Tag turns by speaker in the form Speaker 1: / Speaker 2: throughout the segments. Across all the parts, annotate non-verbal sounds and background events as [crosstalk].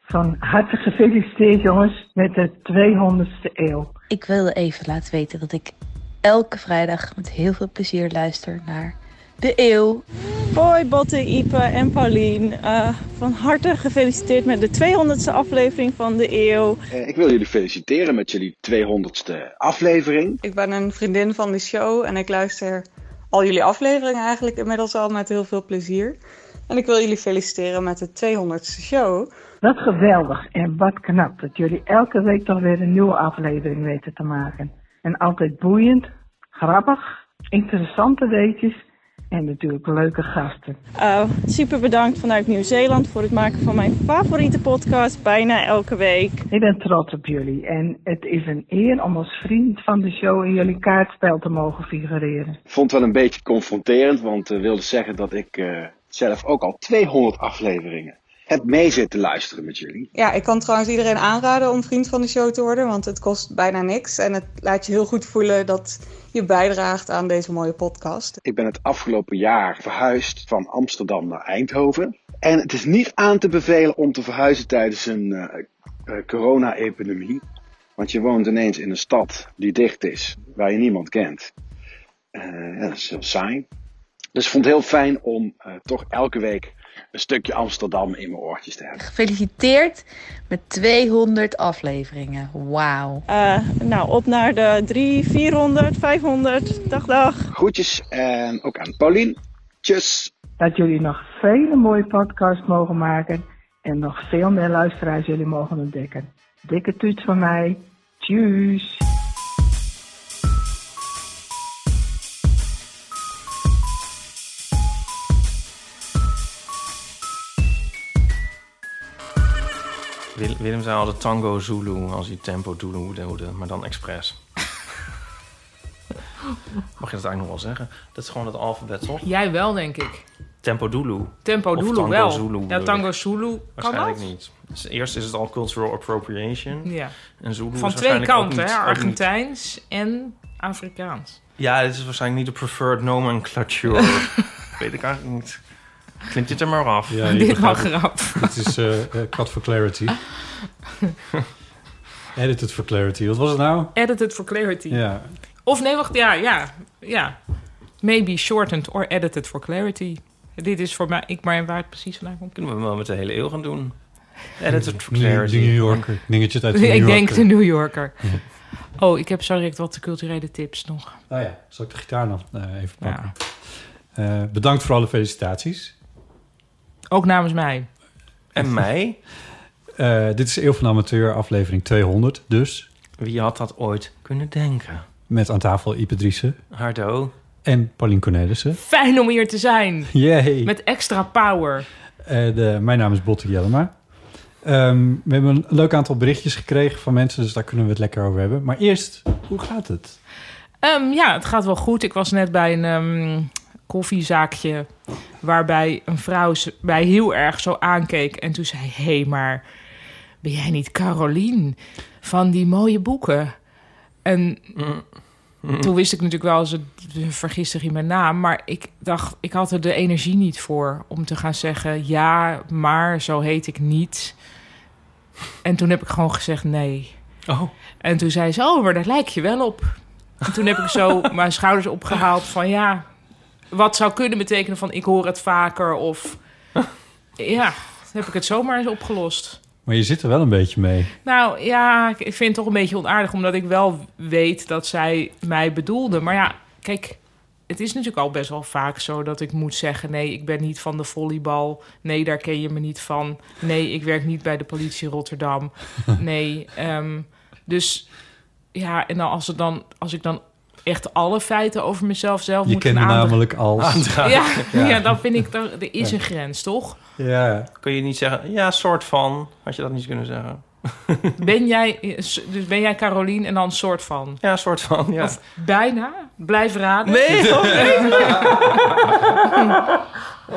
Speaker 1: Van harte gefeliciteerd jongens met de 200ste eeuw.
Speaker 2: Ik wilde even laten weten dat ik elke vrijdag met heel veel plezier luister naar De Eeuw.
Speaker 3: Hoi Botte, Ipe en Paulien. Eh, van harte gefeliciteerd met de 200ste aflevering van De E Eeuw.
Speaker 4: Eh, ik wil jullie feliciteren met jullie 200ste aflevering.
Speaker 5: Ik ben een vriendin van de show en ik luister al jullie afleveringen eigenlijk inmiddels al met heel veel plezier. En ik wil jullie feliciteren met de 200ste show.
Speaker 1: Wat geweldig en wat knap dat jullie elke week toch weer een nieuwe aflevering weten te maken. En altijd boeiend, grappig, interessante weetjes en natuurlijk leuke gasten.
Speaker 3: Eh, super bedankt vanuit Nieuw-Zeeland voor het maken van mijn favoriete podcast bijna elke week.
Speaker 1: Ik ben trots op jullie en het is een eer om als vriend van de show in jullie kaartspel te mogen figureren.
Speaker 4: Vond het wel een beetje confronterend, want eh, wilde zeggen dat ik eh, zelf ook al 200 afleveringen heb mee zitten luisteren met jullie.
Speaker 5: Ja, ik kan trouwens iedereen aanraden om vriend van de show te worden, want het kost bijna niks. En het laat je heel goed voelen dat je bijdraagt aan deze mooie podcast.
Speaker 4: Ik ben het afgelopen jaar verhuisd van Amsterdam naar Eindhoven. En het is niet aan te bevelen om te verhuizen tijdens een eh, eh, corona-epidemie. Want je woont ineens in een stad die dicht is, waar je niemand kent. Eh, ja, dat is heel saai. Dus ik vond het heel fijn om eh, toch elke week een stukje Amsterdam in mijn oortjes te hebben.
Speaker 2: Gefeliciteerd met 200 afleveringen. Wauw.
Speaker 3: Eh, nou, op naar de 3, 400, 500. Dag, dag.
Speaker 4: Groetjes en ook aan Paulien. Tjus!
Speaker 1: Dat jullie nog vele mooie podcasts mogen maken en nog veel meer luisteraars jullie mogen ontdekken. Dikke tuut van mij. Tjus!
Speaker 6: Wil- Willem zei altijd tango Zulu als hij tempo Zulu doodde, maar
Speaker 7: [laughs]
Speaker 6: dan expres. Mag je dat eigenlijk nog wel zeggen? Dat is gewoon het alfabet, toch?
Speaker 7: Jij wel, denk ik.
Speaker 6: Tempo Zulu.
Speaker 7: Tempo
Speaker 6: Of
Speaker 7: Doelo
Speaker 6: tango
Speaker 7: wel.
Speaker 6: Zulu,
Speaker 7: ja,
Speaker 6: bedoel
Speaker 7: tango
Speaker 6: ik.
Speaker 7: Zulu. Kan
Speaker 6: Waarschijnlijk
Speaker 7: dat?
Speaker 6: niet. Dus eerst is het al cultural appropriation.
Speaker 7: Ja.
Speaker 6: En Zulu is
Speaker 7: Van twee
Speaker 6: waarschijnlijk ook
Speaker 7: kanten,
Speaker 6: niet-
Speaker 7: hè?
Speaker 6: ook niet-
Speaker 7: Argentijns en Afrikaans.
Speaker 6: Ja, dit is waarschijnlijk niet de preferred
Speaker 7: [laughs]
Speaker 6: nomenclature. Weet ik eigenlijk niet. Klimt dit er maar af.
Speaker 8: Ja, je
Speaker 7: Dit mag
Speaker 8: begrijpt het.
Speaker 7: grap.
Speaker 8: Het is eh eh, cut for
Speaker 7: [laughs]
Speaker 8: clarity. Edit het for clarity. Wat was het nou?
Speaker 7: Edit it for clarity.
Speaker 8: Ja.
Speaker 7: Of nee, wacht. Ja, ja, ja. Maybe shortened or edited for clarity. Dit is voor mij, ik maar waar het precies vandaan komt.
Speaker 6: Kunnen we wel met de hele eeuw gaan doen. Edited for
Speaker 8: New, de
Speaker 6: clarity.
Speaker 8: New Yorker. Dingetje
Speaker 7: [laughs]
Speaker 8: uit de New
Speaker 7: ik
Speaker 8: Yorker.
Speaker 7: denk de New Yorker. Oh, ik heb zo direct wat culturele tips nog.
Speaker 8: Oh ja, zal ik de gitaar nog eh, even
Speaker 7: Ja.
Speaker 8: pakken? Eh, bedankt voor alle felicitaties.
Speaker 7: Ook namens mij.
Speaker 6: En mij?
Speaker 8: Eh, dit is Eeuw van de Amateur, aflevering 200 dus.
Speaker 6: Wie had dat ooit kunnen denken?
Speaker 8: Met aan tafel Ipe Driessen
Speaker 6: Hardo.
Speaker 8: en Paulien Cornelissen.
Speaker 7: Fijn om hier te zijn.
Speaker 8: Yay!
Speaker 7: Met extra power.
Speaker 8: Eh, de- mijn naam is Botte Jellema. Ehm, we hebben een leuk aantal berichtjes gekregen van mensen, dus daar kunnen we het lekker over hebben. Maar eerst, hoe gaat het?
Speaker 7: Ehm, ja, het gaat wel goed. Ik was net bij een ehm, koffiezaakje waarbij een vrouw ze- mij heel erg zo aankeek. En toen zei, hé, hey, maar ben jij niet Caroline van die mooie boeken? En toen wist ik natuurlijk wel, ze ze vergist zich in mijn naam. Maar ik dacht, ik had er de energie niet voor om te gaan zeggen... ja, maar zo heet ik niet. En toen heb ik gewoon gezegd nee.
Speaker 6: Oh.
Speaker 7: En toen zei ze, oh, maar daar lijk je wel op. En toen heb ik
Speaker 5: [laughs]
Speaker 7: zo mijn schouders opgehaald van ja, wat zou kunnen betekenen van ik hoor het vaker of ja, dan heb ik het zomaar eens opgelost.
Speaker 8: Maar je zit er wel een beetje mee.
Speaker 7: Nou ja, ik ik vind het toch een beetje onaardig, omdat ik wel weet dat zij mij bedoelde. Maar ja, kijk, het is natuurlijk al best wel vaak zo dat ik moet zeggen: nee, ik ben niet van de volleybal. Nee, daar ken je me niet van. Nee, ik werk niet bij de politie
Speaker 8: [laughs]
Speaker 7: Rotterdam. Nee, ehm, dus ja, en dan als, het dan, als ik dan echt alle feiten over mezelf zelf
Speaker 8: Je
Speaker 7: moet
Speaker 8: kent me
Speaker 7: gaan aandra-
Speaker 8: namelijk als.
Speaker 7: Ja,
Speaker 6: Ja.
Speaker 7: ja. dan vind ik, er, er is
Speaker 6: Ja.
Speaker 7: een grens, toch?
Speaker 8: [laughs] Ja.
Speaker 6: Kun je niet zeggen, ja, soort van. Had je dat niet kunnen zeggen? [laughs]
Speaker 7: Ben jij, dus ben jij Carolien en dan soort van?
Speaker 6: Ja, soort van, ja.
Speaker 7: Of bijna? Blijf raden?
Speaker 6: Nee, toch niet?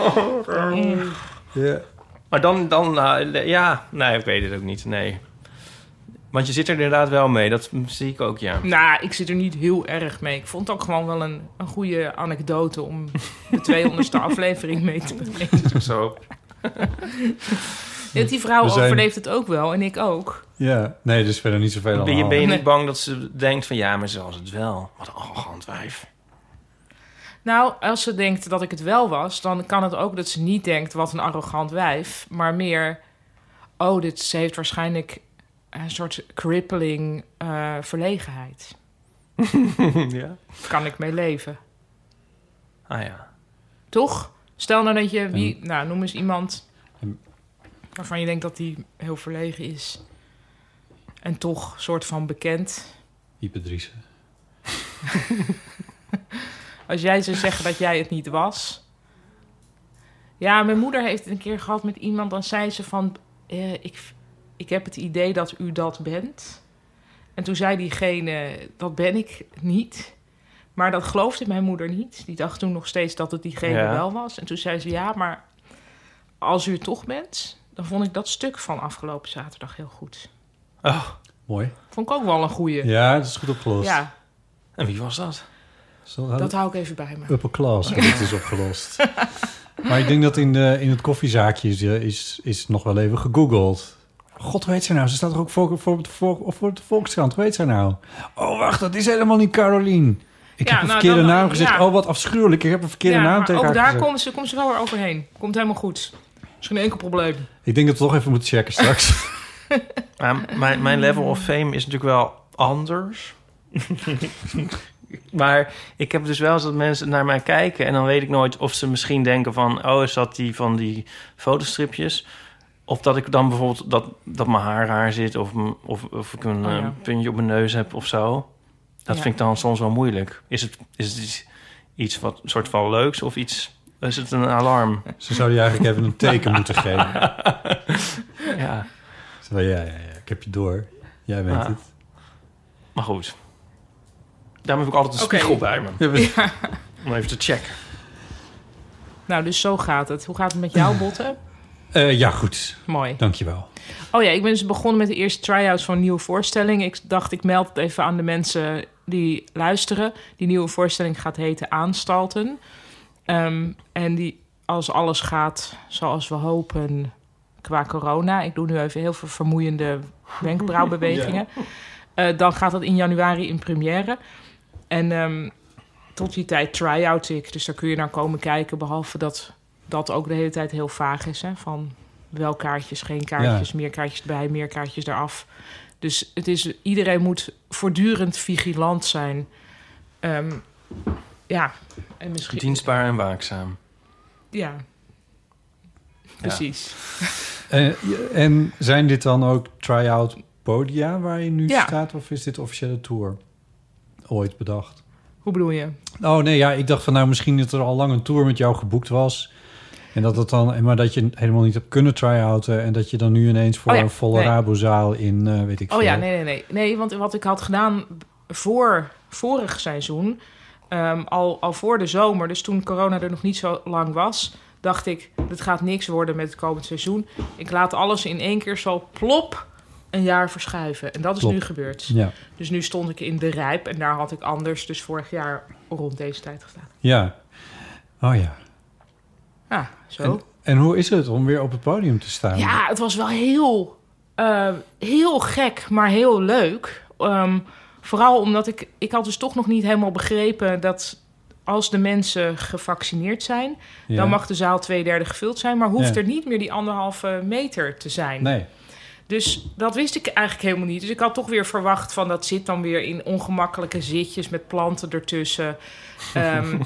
Speaker 7: Oh,
Speaker 8: Ja.
Speaker 6: Maar dan, dan eh, ja, nee, ik weet het ook niet, nee. Want je zit er inderdaad wel mee, dat zie ik ook, ja.
Speaker 7: Nou, ik zit er niet heel erg mee. Ik vond het ook gewoon wel een, een goede anekdote om [laughs] de 200ste aflevering mee te beginnen.
Speaker 6: Zo.
Speaker 7: Want Die vrouw
Speaker 8: We zijn-
Speaker 7: overleeft het ook wel en ik ook.
Speaker 8: ja, nee, dus verder niet zoveel aan
Speaker 6: Ben
Speaker 8: de
Speaker 6: je, ben je
Speaker 8: hand.
Speaker 6: niet bang dat ze denkt van, ja, maar ze was het wel. Wat een arrogant wijf.
Speaker 7: Nou, als ze denkt dat ik het wel was, dan kan het ook dat ze niet denkt wat een arrogant wijf, maar meer, oh, dit, ze heeft waarschijnlijk een soort crippling eh, verlegenheid.
Speaker 6: ja.
Speaker 7: Kan ik mee leven.
Speaker 6: Ah ja.
Speaker 7: Toch? Stel nou dat je, wie, nou noem eens iemand waarvan je denkt dat die heel verlegen is. En toch soort van bekend.
Speaker 8: Ipe Driessen.
Speaker 7: Als jij zou zeggen dat jij het niet was. Ja, mijn moeder heeft het een keer gehad met iemand. Dan zei ze van, eh, ik, ik heb het idee dat u dat bent. En toen zei diegene, dat ben ik niet. Maar dat geloofde mijn moeder niet. Die dacht toen nog steeds dat het diegene
Speaker 6: Ja.
Speaker 7: wel was. En toen zei ze, ja, maar als u het toch bent... dan vond ik dat stuk van afgelopen zaterdag heel goed.
Speaker 6: Oh,
Speaker 8: Mooi.
Speaker 7: Vond ik ook wel een goeie.
Speaker 8: Ja, dat is goed opgelost.
Speaker 7: Ja,
Speaker 6: En wie was dat?
Speaker 8: Zo,
Speaker 7: dat hou ik even bij me.
Speaker 8: Upper class, hoe dit is opgelost. maar ik denk dat in, de, in het koffiezaakje is, eh, is, is nog wel even gegoogeld. God, hoe heet zij nou? Ze staat er ook voor, voor, op de voor, of voor de Volkskrant. Hoe heet zij nou? Oh, wacht, dat is helemaal niet Carolien. Ik
Speaker 7: Ja,
Speaker 8: heb een
Speaker 7: nou,
Speaker 8: verkeerde
Speaker 7: dan-
Speaker 8: naam gezegd.
Speaker 7: ja.
Speaker 8: Oh, wat afschuwelijk. Ik heb een verkeerde
Speaker 7: ja,
Speaker 8: naam
Speaker 7: maar
Speaker 8: tegen
Speaker 7: ook
Speaker 8: haar
Speaker 7: daar
Speaker 8: gezegd.
Speaker 7: komen ze, komt ze wel weer overheen. Komt helemaal goed. Is geen enkel probleem.
Speaker 8: Ik denk dat we toch even moeten
Speaker 7: [laughs]
Speaker 8: checken straks.
Speaker 6: Maar Ehm, mijn, mijn level of fame is natuurlijk wel
Speaker 7: [laughs]
Speaker 6: anders. maar ik heb dus wel eens dat mensen naar mij kijken... en dan weet ik nooit of ze misschien denken van... oh, is dat die van die fotostripjes? Of dat ik dan bijvoorbeeld dat, dat mijn haar raar zit... of, m- of, of ik een
Speaker 7: Oh, ja.
Speaker 6: eh, puntje op mijn neus heb of zo. Dat
Speaker 7: Ja.
Speaker 6: vind ik dan soms wel moeilijk. Is het, is het iets, iets wat soort van leuks of iets... Is het een
Speaker 7: [laughs]
Speaker 6: alarm?
Speaker 8: Ze zouden je eigenlijk even een teken moeten geven.
Speaker 6: Ja,
Speaker 8: Zo van, Ja, ja, ja, ik heb je door. Jij weet
Speaker 6: Ah.
Speaker 8: het.
Speaker 6: maar goed. Daarom heb ik altijd een
Speaker 7: Oké.
Speaker 6: spiegel bij me.
Speaker 8: Ja, we-
Speaker 6: Om even te checken.
Speaker 7: Nou, dus zo gaat het. Hoe gaat het met jou, Botten?
Speaker 8: Eh, ja, goed.
Speaker 7: Mooi.
Speaker 8: Dankjewel.
Speaker 7: Oh ja, ik ben dus begonnen met de eerste try-outs van een nieuwe voorstelling. Ik dacht, ik meld het even aan de mensen die luisteren. Die nieuwe voorstelling gaat heten Aanstalten. Ehm, en die, als alles gaat zoals we hopen qua corona... ik doe nu even heel veel vermoeiende
Speaker 8: [laughs]
Speaker 7: wenkbrauwbewegingen... eh, dan gaat dat in januari in première. En ehm, tot die tijd try-out ik. Dus daar kun je naar komen kijken, behalve dat dat ook de hele tijd heel vaag is. Hè? Van wel kaartjes, geen kaartjes, meer kaartjes erbij, meer kaartjes eraf. Dus het is, iedereen moet voortdurend vigilant zijn. Ehm, ja, en misschien...
Speaker 6: Dienstbaar en waakzaam.
Speaker 7: Ja. Precies.
Speaker 8: Eh, en zijn dit dan ook try-out podia waar je nu
Speaker 7: Ja.
Speaker 8: staat? Of is dit officiële tour ooit bedacht?
Speaker 7: Hoe bedoel je?
Speaker 8: Oh nee, ja, ik dacht van nou misschien dat er al lang een tour met jou geboekt was. En dat het dan, en maar dat je helemaal niet hebt kunnen try-outen. En dat je dan nu ineens voor
Speaker 7: Oh ja,
Speaker 8: een volle
Speaker 7: nee.
Speaker 8: Rabozaal in, eh, weet ik
Speaker 7: Oh
Speaker 8: veel.
Speaker 7: ja, nee, nee, nee. Nee, want wat ik had gedaan voor vorig seizoen, ehm, al, al voor de zomer, dus toen corona er nog niet zo lang was, dacht ik, dit gaat niks worden met het komend seizoen. Ik laat alles in één keer zo plop een jaar verschuiven. En dat is
Speaker 8: Plop.
Speaker 7: nu gebeurd.
Speaker 8: Ja,
Speaker 7: Dus nu stond ik in de rijp en daar had ik anders dus vorig jaar rond deze tijd gestaan.
Speaker 8: ja. Oh ja.
Speaker 7: Ja, Ah, zo.
Speaker 8: En, en hoe is het om weer op het podium te staan?
Speaker 7: Ja, Ah, het was wel heel, eh, heel gek, maar heel leuk. Ehm, vooral omdat ik, ik had dus toch nog niet helemaal begrepen dat als de mensen gevaccineerd zijn,
Speaker 8: Ja.
Speaker 7: dan mag de zaal twee derde gevuld zijn, maar hoeft
Speaker 8: Ja.
Speaker 7: er niet meer die anderhalve meter te zijn.
Speaker 8: Nee.
Speaker 7: Dus dat wist ik eigenlijk helemaal niet. Dus ik had toch weer verwacht van dat zit dan weer in ongemakkelijke zitjes met planten ertussen. Ehm,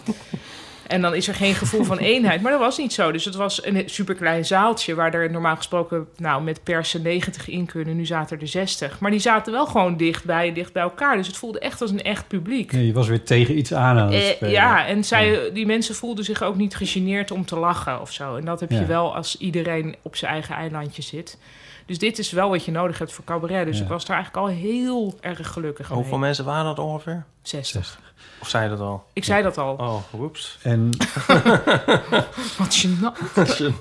Speaker 7: en dan is er geen gevoel van eenheid. Maar dat was niet zo. Dus het was een superklein zaaltje waar er normaal gesproken nou, met persen 90 in kunnen. Nu zaten er 60. Maar die zaten wel gewoon dichtbij en dicht bij elkaar. Dus het voelde echt als een echt publiek.
Speaker 8: Nee, je was weer tegen iets aan aan het
Speaker 7: Eh,
Speaker 8: spelen.
Speaker 7: ja, en zij, die mensen voelden zich ook niet gegeneerd om te lachen of zo. En dat heb
Speaker 8: Ja.
Speaker 7: je wel als iedereen op zijn eigen eilandje zit. Dus dit is wel wat je nodig hebt voor cabaret. Dus
Speaker 6: Ja.
Speaker 7: ik was daar eigenlijk al heel erg gelukkig mee.
Speaker 6: Hoeveel mensen waren dat ongeveer?
Speaker 7: 60.
Speaker 6: Of zei je dat al?
Speaker 7: Ik zei dat al.
Speaker 6: Oh, whoops.
Speaker 8: En...
Speaker 7: [laughs] Wat gênant.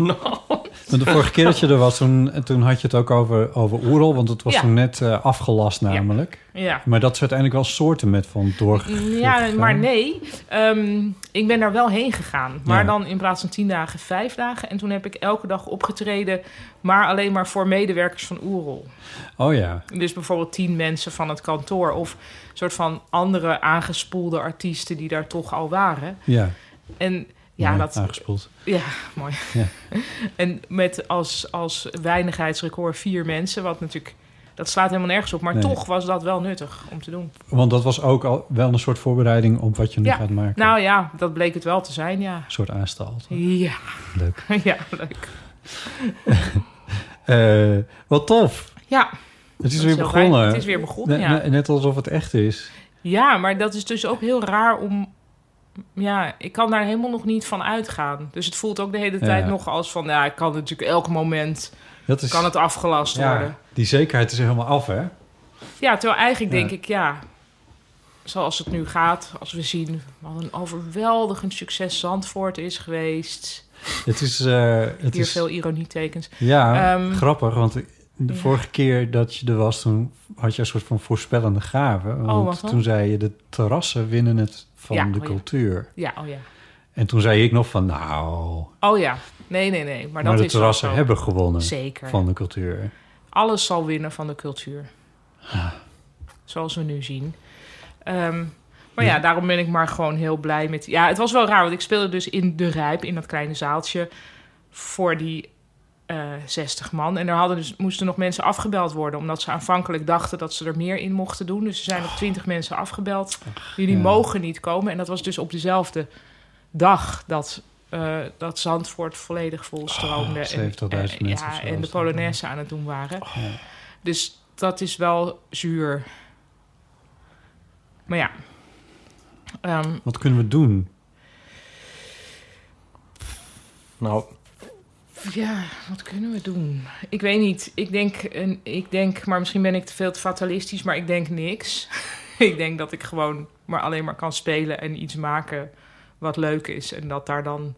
Speaker 8: Maar de vorige keer dat je er was, toen, toen had je het ook over, over oerel. Want het was
Speaker 7: Ja.
Speaker 8: toen net eh, afgelast namelijk.
Speaker 7: Ja.
Speaker 8: Maar dat is uiteindelijk wel soorten met van door.
Speaker 7: Ja, maar nee. Ehm, ik ben daar wel heen gegaan. Maar
Speaker 8: Ja.
Speaker 7: dan in plaats van tien dagen, vijf dagen. En toen heb ik elke dag opgetreden. Maar alleen maar voor medewerkers van Oerol.
Speaker 8: Oh ja.
Speaker 7: Dus bijvoorbeeld tien mensen van het kantoor. Of een soort van andere aangespoelde artiesten die daar toch al waren.
Speaker 8: Ja.
Speaker 7: En ja,
Speaker 8: Mooi,
Speaker 7: dat...
Speaker 8: aangespoeld.
Speaker 7: Ja, mooi.
Speaker 8: Ja.
Speaker 7: en met als, als weinigheidsrecord vier mensen. Wat natuurlijk... Dat slaat helemaal nergens op. Maar
Speaker 8: Nee.
Speaker 7: toch was dat wel nuttig om te doen.
Speaker 8: Want dat was ook al wel een soort voorbereiding op wat je nu
Speaker 7: ja.
Speaker 8: gaat maken.
Speaker 7: Nou ja, dat bleek het wel te zijn, ja.
Speaker 8: Een soort aanstalt.
Speaker 7: Ja.
Speaker 8: Leuk.
Speaker 7: [laughs] ja, leuk.
Speaker 8: [laughs] Eh, wat tof.
Speaker 7: Ja.
Speaker 8: Het is
Speaker 7: Dat
Speaker 8: weer
Speaker 7: heel
Speaker 8: begonnen.
Speaker 7: fijn. Het is weer begonnen,
Speaker 8: Ne-
Speaker 7: ja.
Speaker 8: ne- net alsof het echt is.
Speaker 7: Ja, maar dat is dus ook heel raar om... Ja, ik kan daar helemaal nog niet van uitgaan. Dus het voelt ook de hele
Speaker 8: Ja.
Speaker 7: tijd nog als van... Ja, ik kan natuurlijk elk moment...
Speaker 8: Dat is-
Speaker 7: Kan het afgelast worden.
Speaker 8: Ja, die zekerheid is helemaal af, hè?
Speaker 7: Ja, terwijl eigenlijk
Speaker 8: Ja.
Speaker 7: denk ik, ja... Zoals het nu gaat, als we zien... wat een overweldigend succes Zandvoort is geweest.
Speaker 8: Het is... eh, het
Speaker 7: Hier
Speaker 8: is
Speaker 7: veel ironietekens.
Speaker 8: Ja,
Speaker 7: Ehm,
Speaker 8: grappig, want de
Speaker 7: ja.
Speaker 8: vorige keer dat je er was, toen had je een soort van voorspellende gave.
Speaker 7: Oh, wat
Speaker 8: Want
Speaker 7: dan?
Speaker 8: toen zei je, de terrassen winnen het van
Speaker 7: Ja,
Speaker 8: de
Speaker 7: oh ja.
Speaker 8: cultuur.
Speaker 7: Ja, oh ja.
Speaker 8: En toen zei ik nog van, nou, maar,
Speaker 7: Oh ja, nee, nee, nee. Maar, dat
Speaker 8: de
Speaker 7: is wel
Speaker 8: terrassen
Speaker 7: zo.
Speaker 8: hebben gewonnen
Speaker 7: Zeker.
Speaker 8: van de cultuur.
Speaker 7: Alles zal winnen van de cultuur. Zoals we nu zien. Ehm, maar ja, daarom ben ik maar gewoon heel blij met... Ja, het was wel raar, want ik speelde dus in De Rijp... in dat kleine zaaltje voor die eh 60 man. En er hadden dus, moesten nog mensen afgebeld worden... omdat ze aanvankelijk dachten dat ze er meer in mochten doen. Dus er zijn nog 20 mensen afgebeld. Jullie
Speaker 9: ja.
Speaker 7: mogen niet komen. En dat was dus op dezelfde dag dat... eh, dat Zandvoort volledig volstroomde.
Speaker 8: Oh,
Speaker 7: en-
Speaker 8: 70.000
Speaker 7: en-
Speaker 8: mensen of
Speaker 7: eh, Ja,
Speaker 8: zo
Speaker 7: en de
Speaker 8: is dat, ja.
Speaker 7: Polonaise aan het doen waren. Dus dat is wel zuur. Maar ja. Ehm,
Speaker 8: Wat kunnen we doen?
Speaker 6: Nou,
Speaker 7: ja, wat kunnen we doen? Ik weet niet. Ik denk, een- ik denk, maar misschien ben ik te veel te fatalistisch, maar ik denk niks. [laughs] ik denk dat ik gewoon maar alleen maar kan spelen en iets maken wat leuk is. En dat daar dan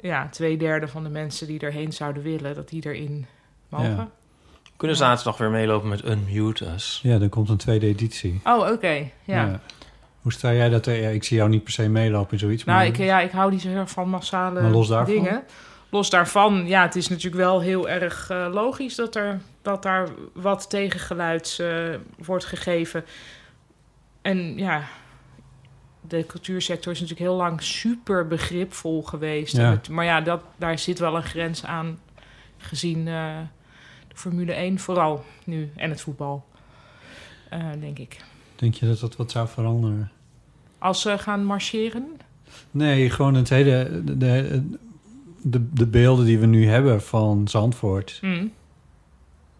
Speaker 7: ja, twee derde van de mensen die erheen zouden willen, dat die erin mogen.
Speaker 6: Kunnen zaterdag weer meelopen met Unmute Us?
Speaker 8: Ja, er komt een tweede editie.
Speaker 7: Oh, oké. ja.
Speaker 8: Hoe sta jij dat? eh, Ja, ik zie jou niet per se meelopen in zoiets.
Speaker 7: Nou,
Speaker 8: maar...
Speaker 7: ik, ja, ik hou niet zo heel erg van massale
Speaker 8: Maar los daarvan?
Speaker 7: dingen. Los daarvan, ja, het is natuurlijk wel heel erg eh, logisch dat, er, dat daar wat tegengeluid eh, wordt gegeven. En ja, de cultuursector is natuurlijk heel lang super begripvol geweest.
Speaker 8: Ja.
Speaker 7: En het- maar ja, dat, daar zit wel een grens aan gezien eh, de Formule 1 vooral nu en het voetbal, eh, denk ik.
Speaker 8: Denk je dat dat wat zou veranderen?
Speaker 7: Als ze gaan marcheren,
Speaker 8: Nee, gewoon het hele... De, de, de, de beelden die we nu hebben van Zandvoort...
Speaker 7: Mm.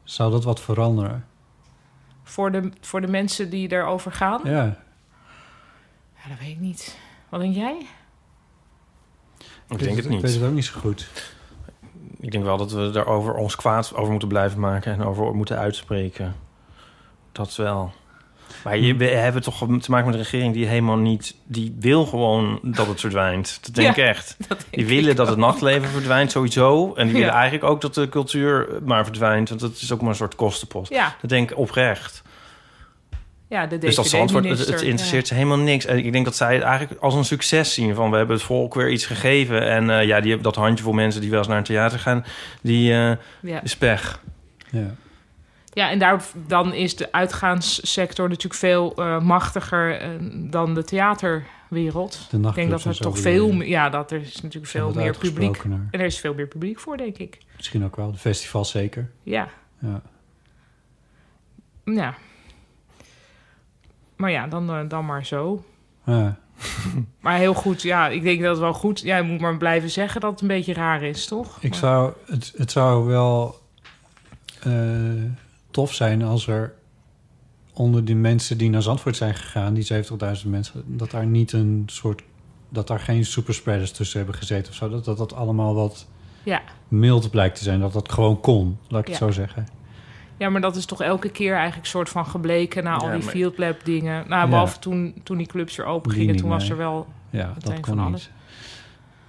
Speaker 8: Zou dat wat veranderen?
Speaker 7: voor de, voor de mensen die erover gaan?
Speaker 8: Ja.
Speaker 7: Ja, dat weet ik niet. Wat denk jij?
Speaker 6: Ik denk het
Speaker 8: Ik weet
Speaker 6: niet.
Speaker 8: het ook niet zo goed.
Speaker 6: Ik denk wel dat we daarover ons kwaad over moeten blijven maken en over moeten uitspreken. Dat wel. Maar
Speaker 8: Hm.
Speaker 6: je, we hebben toch te maken met een regering die helemaal niet... die wil gewoon dat het verdwijnt. Dat denk ik
Speaker 8: Ja,
Speaker 6: echt.
Speaker 8: [laughs] dat denk
Speaker 6: die willen
Speaker 8: ik
Speaker 6: dat het
Speaker 8: ook.
Speaker 6: nachtleven verdwijnt sowieso. En die
Speaker 8: Ja.
Speaker 6: willen eigenlijk ook dat de cultuur maar verdwijnt. Want dat is ook maar een soort kostenpost.
Speaker 7: Ja.
Speaker 6: Dat denk ik oprecht.
Speaker 7: Ja, de
Speaker 6: Dus dat Zandvoort, het, het
Speaker 7: DVD-minister.
Speaker 6: interesseert ze helemaal niks. En ik denk dat zij het eigenlijk als een succes zien. Van we hebben het volk weer iets gegeven. En eh, ja, die hebben dat handje voor mensen die wel eens naar een theater gaan. Die eh,
Speaker 7: Ja.
Speaker 6: is pech.
Speaker 7: Ja, en daar, dan is de uitgaanssector natuurlijk veel eh, machtiger eh, dan de theaterwereld.
Speaker 8: De
Speaker 7: ik denk
Speaker 8: nachtclubs
Speaker 7: dat er
Speaker 8: en zo
Speaker 7: toch
Speaker 8: bedoel je?
Speaker 7: veel meer... Ja, dat er is natuurlijk
Speaker 8: Zijn
Speaker 7: veel
Speaker 8: wat
Speaker 7: meer publiek...
Speaker 8: uitgesprokener.
Speaker 7: En er is veel meer publiek voor, denk ik.
Speaker 8: Misschien ook wel. De festival zeker.
Speaker 7: Ja.
Speaker 8: Ja.
Speaker 7: Ja. Maar ja, dan, eh, dan maar zo.
Speaker 8: Ja.
Speaker 7: Maar heel goed, ja, ik denk dat het wel goed... Jij moet maar blijven zeggen dat het een beetje raar is, toch?
Speaker 8: Ik zou, het, het zou wel eh, tof zijn als er onder die mensen die naar Zandvoort zijn gegaan, die 70.000 mensen, dat daar niet een soort, dat daar geen superspreaders tussen hebben gezeten of zo. Dat dat, dat allemaal wat
Speaker 7: Ja.
Speaker 8: mild blijkt te zijn. Dat dat gewoon kon, laat ik het
Speaker 7: Ja.
Speaker 8: zo zeggen.
Speaker 7: Ja, maar dat is toch elke keer eigenlijk soort van gebleken... na al
Speaker 8: Ja,
Speaker 7: die
Speaker 8: maar-
Speaker 7: field lab dingen. Nou,
Speaker 8: Ja.
Speaker 7: behalve toen, toen die clubs weer open
Speaker 8: Die
Speaker 7: gingen,
Speaker 8: niet,
Speaker 7: toen was
Speaker 8: nee.
Speaker 7: er wel
Speaker 8: Ja,
Speaker 7: meteen
Speaker 8: dat kon
Speaker 7: van
Speaker 8: niet.
Speaker 7: alles.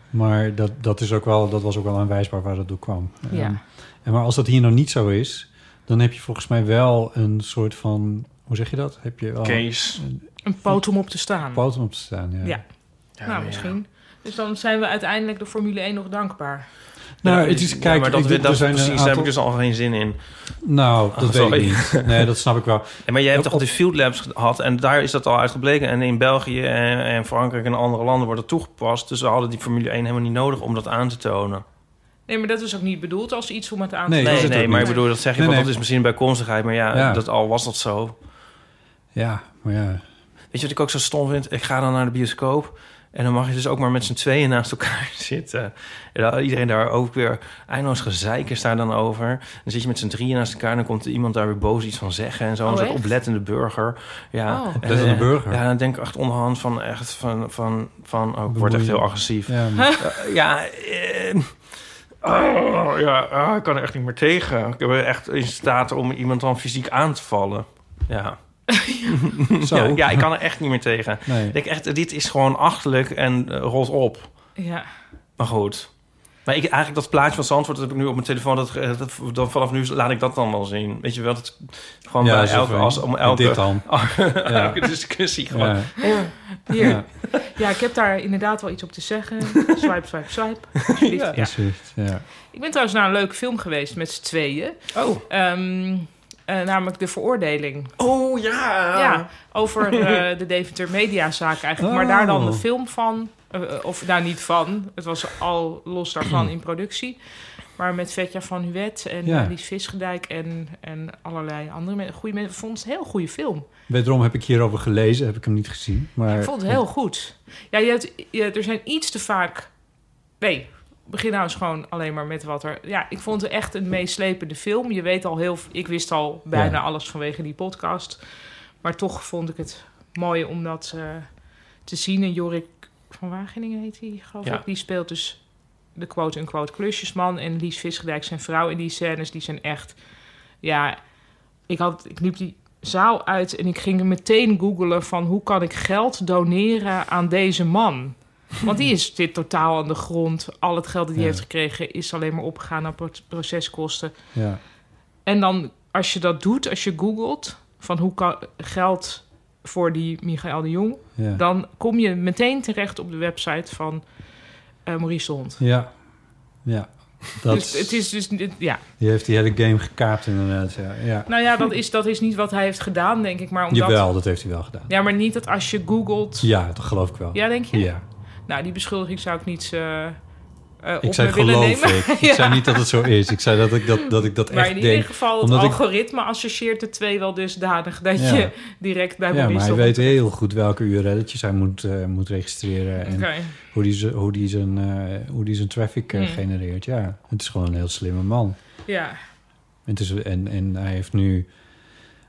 Speaker 8: Maar dat, dat, is ook wel, dat was ook wel aanwijsbaar waar dat door kwam.
Speaker 7: Ja.
Speaker 8: Ehm, en maar als dat hier nou niet zo is, dan heb je volgens mij wel een soort van, hoe zeg je dat? Heb je wel
Speaker 6: Case.
Speaker 8: Een,
Speaker 7: Een poot om op te staan.
Speaker 8: poot om op te staan, ja.
Speaker 7: Ja. nou, misschien. Dus dan zijn we uiteindelijk de Formule 1 nog dankbaar.
Speaker 8: Nou, het is,
Speaker 6: Ja,
Speaker 8: kijk,
Speaker 6: maar dat,
Speaker 8: ik-
Speaker 6: we- dat
Speaker 8: er zijn een
Speaker 6: precies, daar heb
Speaker 8: aantal-
Speaker 6: ik dus al geen zin in.
Speaker 8: Nou, dat
Speaker 6: Ah,
Speaker 8: weet ik
Speaker 6: sorry.
Speaker 8: niet.
Speaker 6: [laughs]
Speaker 8: Nee, dat snap ik wel.
Speaker 6: Ja, maar jij hebt toch de field labs gehad en daar is dat al uitgebleken. En in België en, en Frankrijk en andere landen wordt het toegepast. Dus we hadden die Formule 1 helemaal niet nodig om dat aan te tonen.
Speaker 7: Nee, maar dat is ook niet bedoeld als iets om het aan
Speaker 6: Nee,
Speaker 7: te
Speaker 6: nee,
Speaker 7: tonen.
Speaker 6: maar ik bedoel, dat zeg je,
Speaker 8: Nee,
Speaker 6: want
Speaker 8: nee.
Speaker 6: dat is misschien bijkomstigheid. Maar ja,
Speaker 8: Ja.
Speaker 6: Dat, al was dat zo.
Speaker 8: Ja, maar ja.
Speaker 6: Weet je wat ik ook zo stom vind? Ik ga dan naar de bioscoop. En dan mag je dus ook maar met z'n tweeën naast elkaar [laughs] zitten. En dan iedereen daar ook weer eindeloos gezeik is daar dan over. Dan zit je met z'n drieën naast elkaar en dan komt iemand daar weer boos iets van zeggen. En zo,
Speaker 8: Oh,
Speaker 6: een soort
Speaker 8: echt?
Speaker 6: oplettende burger. Ja,
Speaker 8: Oh.
Speaker 6: en-
Speaker 8: Oplettende
Speaker 6: en-
Speaker 8: burger.
Speaker 6: Ja, dan denk ik echt onderhand van echt van... van, van oh, ik word echt heel
Speaker 7: [laughs]
Speaker 6: agressief.
Speaker 8: Ja,
Speaker 6: Eh, ja, eh, oh, ja ah, ik kan er echt niet meer tegen. Ik ben echt in staat om iemand dan fysiek aan te vallen. Ja.
Speaker 8: Zo.
Speaker 6: Ja, ja, ik kan er echt niet meer tegen.
Speaker 8: Nee.
Speaker 6: Ik denk echt, dit is gewoon achterlijk en eh, rolt op.
Speaker 7: Ja.
Speaker 6: Maar goed. Maar ik, eigenlijk dat plaatje van Zandvoort dat heb ik nu op mijn telefoon. Dat, eh, dat, dan vanaf nu laat ik dat dan wel zien. Weet je wel, dat gewoon
Speaker 8: Ja,
Speaker 6: bij
Speaker 8: zo
Speaker 6: elke,
Speaker 8: van,
Speaker 6: als, om elke,
Speaker 8: dit dan.
Speaker 6: [laughs] elke discussie gewoon.
Speaker 8: Ja.
Speaker 7: Ja, hier.
Speaker 8: Ja.
Speaker 7: Ja. ik heb daar inderdaad wel iets op te
Speaker 8: [laughs]
Speaker 7: zeggen. Swipe, swipe, swipe. Alsjeblieft.
Speaker 8: Ja. Precies, ja.
Speaker 7: Ik ben trouwens naar een leuke film geweest met z'n tweeën.
Speaker 6: Oh.
Speaker 7: namelijk De Veroordeling.
Speaker 6: Oh ja.
Speaker 7: Ja, over eh, de Deventer Mediazaak eigenlijk. Maar
Speaker 6: Oh.
Speaker 7: daar dan de film van. eh, eh, of daar niet van. Het was al los daarvan in productie. Maar met Vetja van Huwet en
Speaker 8: Ja.
Speaker 7: eh, Lies Visgedijk en, en allerlei andere men- goede mensen. Ik vond het een heel goede film.
Speaker 8: Wederom heb ik hierover gelezen, heb ik hem niet gezien. Maar...
Speaker 7: Ik vond het heel goed. Ja, je hebt, je- er zijn iets te vaak. Nee, begin nou eens gewoon alleen maar met wat er. Ja, ik vond het echt een meeslepende film. Je weet al heel. Ik wist al bijna
Speaker 8: Ja.
Speaker 7: alles vanwege die podcast. Maar toch vond ik het mooi om dat eh, te zien. En Jorik van Wageningen heet die, geloof
Speaker 6: Ja.
Speaker 7: ik. Die speelt dus de quote-unquote klusjesman. En Lies Visgedijk zijn vrouw. En die scènes die zijn echt... Ja, ik, had, ik liep die zaal uit en ik ging meteen googelen van... hoe kan ik geld doneren aan deze man? Want die is, zit totaal aan de grond. Al het geld dat hij
Speaker 8: Ja.
Speaker 7: heeft gekregen is alleen maar opgegaan aan pro- proceskosten.
Speaker 8: Ja.
Speaker 7: En dan als je dat doet, als je googelt van hoe kan geld voor die Michael de Jong,
Speaker 8: Ja.
Speaker 7: dan kom je meteen terecht op de website van eh, Maurice de Hond.
Speaker 8: Ja. Ja. Dat,
Speaker 7: Dus het is dus dit- ja.
Speaker 8: Die heeft die hele game gekaapt inderdaad, ja. ja.
Speaker 7: Nou ja, dat is, dat is niet wat hij heeft gedaan, denk ik, maar omdat.
Speaker 8: Jawel, dat heeft hij wel gedaan.
Speaker 7: Ja, maar niet dat als je googelt.
Speaker 8: Ja, dat geloof ik wel.
Speaker 7: Ja, denk je?
Speaker 8: Ja.
Speaker 7: Nou, die beschuldiging zou ik niet. eh eh,
Speaker 8: Ik
Speaker 7: op
Speaker 8: zei
Speaker 7: me willen
Speaker 8: geloof
Speaker 7: nemen. [laughs]
Speaker 8: ik. Ik
Speaker 7: Ja.
Speaker 8: zei niet dat het zo is. Ik zei dat ik dat, dat, ik dat
Speaker 7: Maar
Speaker 8: echt
Speaker 7: in
Speaker 8: denk.
Speaker 7: ieder geval, het
Speaker 8: Omdat ik-
Speaker 7: algoritme associeert de twee wel dusdanig dat
Speaker 8: Ja.
Speaker 7: je direct bij
Speaker 8: ja,
Speaker 7: Maurice
Speaker 8: maar
Speaker 7: de
Speaker 8: hij
Speaker 7: Hond
Speaker 8: weet heel goed welke URL'tjes hij moet, eh, moet registreren. En
Speaker 7: Oké.
Speaker 8: hoe, die ze- hoe, die zijn, eh, hoe die zijn traffic eh,
Speaker 7: Mm.
Speaker 8: genereert. Ja, het is gewoon een heel slimme man.
Speaker 7: Ja.
Speaker 8: Het is, en, en hij heeft nu...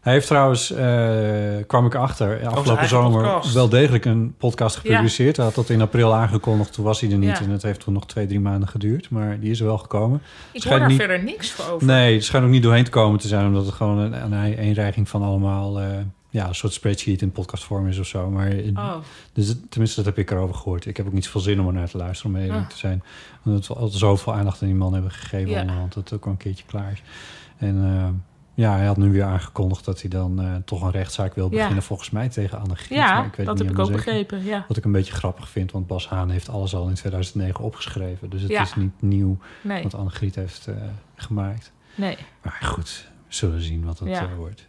Speaker 8: Hij heeft trouwens, eh, kwam ik achter, afgelopen
Speaker 6: eigen
Speaker 8: zomer
Speaker 6: podcast.
Speaker 8: wel degelijk een podcast gepubliceerd. Hij had dat in april aangekondigd, toen was hij er niet.
Speaker 7: Ja.
Speaker 8: En het heeft toen nog twee, drie maanden geduurd. Maar die is er wel gekomen.
Speaker 7: Ik hoor
Speaker 8: Schijnt
Speaker 7: daar
Speaker 8: niet-
Speaker 7: verder niks voor over.
Speaker 8: Nee, het schijnt ook niet doorheen te komen te zijn, omdat het gewoon een, een eenreiging van allemaal eh, ja, een soort spreadsheet in podcastvorm is of zo. Maar in-
Speaker 7: Oh.
Speaker 8: dus het- tenminste, dat heb ik erover gehoord. Ik heb ook niet zoveel zin om er naar te luisteren, om eerlijk
Speaker 7: Ah.
Speaker 8: te zijn. Omdat we al zoveel aandacht aan die man hebben gegeven
Speaker 7: Ja.
Speaker 8: onderhand, dat het ook al een keertje klaar is. En eh, ja, hij had nu weer aangekondigd dat hij dan eh, toch een rechtszaak wil
Speaker 7: Ja.
Speaker 8: beginnen, volgens mij tegen Anne Griet.
Speaker 7: Ja,
Speaker 8: maar ik weet
Speaker 7: dat
Speaker 8: het niet
Speaker 7: heb ik ook
Speaker 8: helemaal zeker.
Speaker 7: begrepen, ja.
Speaker 8: Wat ik een beetje grappig vind, want Bas Haan heeft alles al in 2009 opgeschreven. Dus het
Speaker 7: Ja.
Speaker 8: is niet nieuw
Speaker 7: Nee.
Speaker 8: wat Anne Griet heeft eh, gemaakt.
Speaker 7: Nee.
Speaker 8: Maar goed, we zullen zien wat het
Speaker 7: Ja.
Speaker 8: eh, wordt.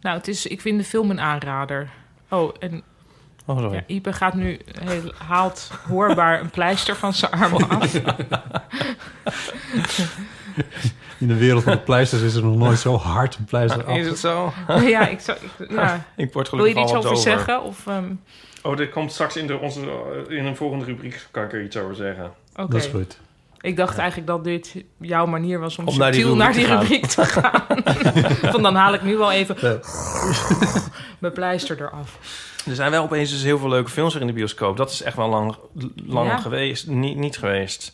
Speaker 7: Nou, het is, ik vind de film een aanrader. Oh, en
Speaker 6: Oh, sorry.
Speaker 7: ja, Ipe gaat nu heel, haalt hoorbaar een pleister van zijn arm af.
Speaker 8: In de wereld van de pleisters is er nog
Speaker 7: [laughs]
Speaker 8: nooit zo hard een pleister
Speaker 7: Ah,
Speaker 8: af.
Speaker 6: Is het zo?
Speaker 7: ja, ik zou... ik- ja.
Speaker 6: Ik word gelukkig
Speaker 7: Wil je er
Speaker 6: al
Speaker 7: iets
Speaker 6: wat
Speaker 7: over
Speaker 6: over.
Speaker 7: zeggen? Of, ehm,
Speaker 6: Oh, dit komt straks in, de, onze, eh, in een volgende rubriek, kan ik er iets over zeggen.
Speaker 7: oké. Ik dacht eigenlijk dat dit jouw manier was om,
Speaker 6: Om naar die
Speaker 7: subtiel naar die rubriek
Speaker 6: rubriek
Speaker 7: te
Speaker 6: te
Speaker 7: gaan. [laughs] Van dan haal ik nu wel even
Speaker 8: Ja.
Speaker 7: mijn pleister eraf.
Speaker 6: Er zijn wel opeens dus heel veel leuke films er in de bioscoop. Dat is echt wel lang, lang
Speaker 7: Ja.
Speaker 6: geweest, niet, niet geweest.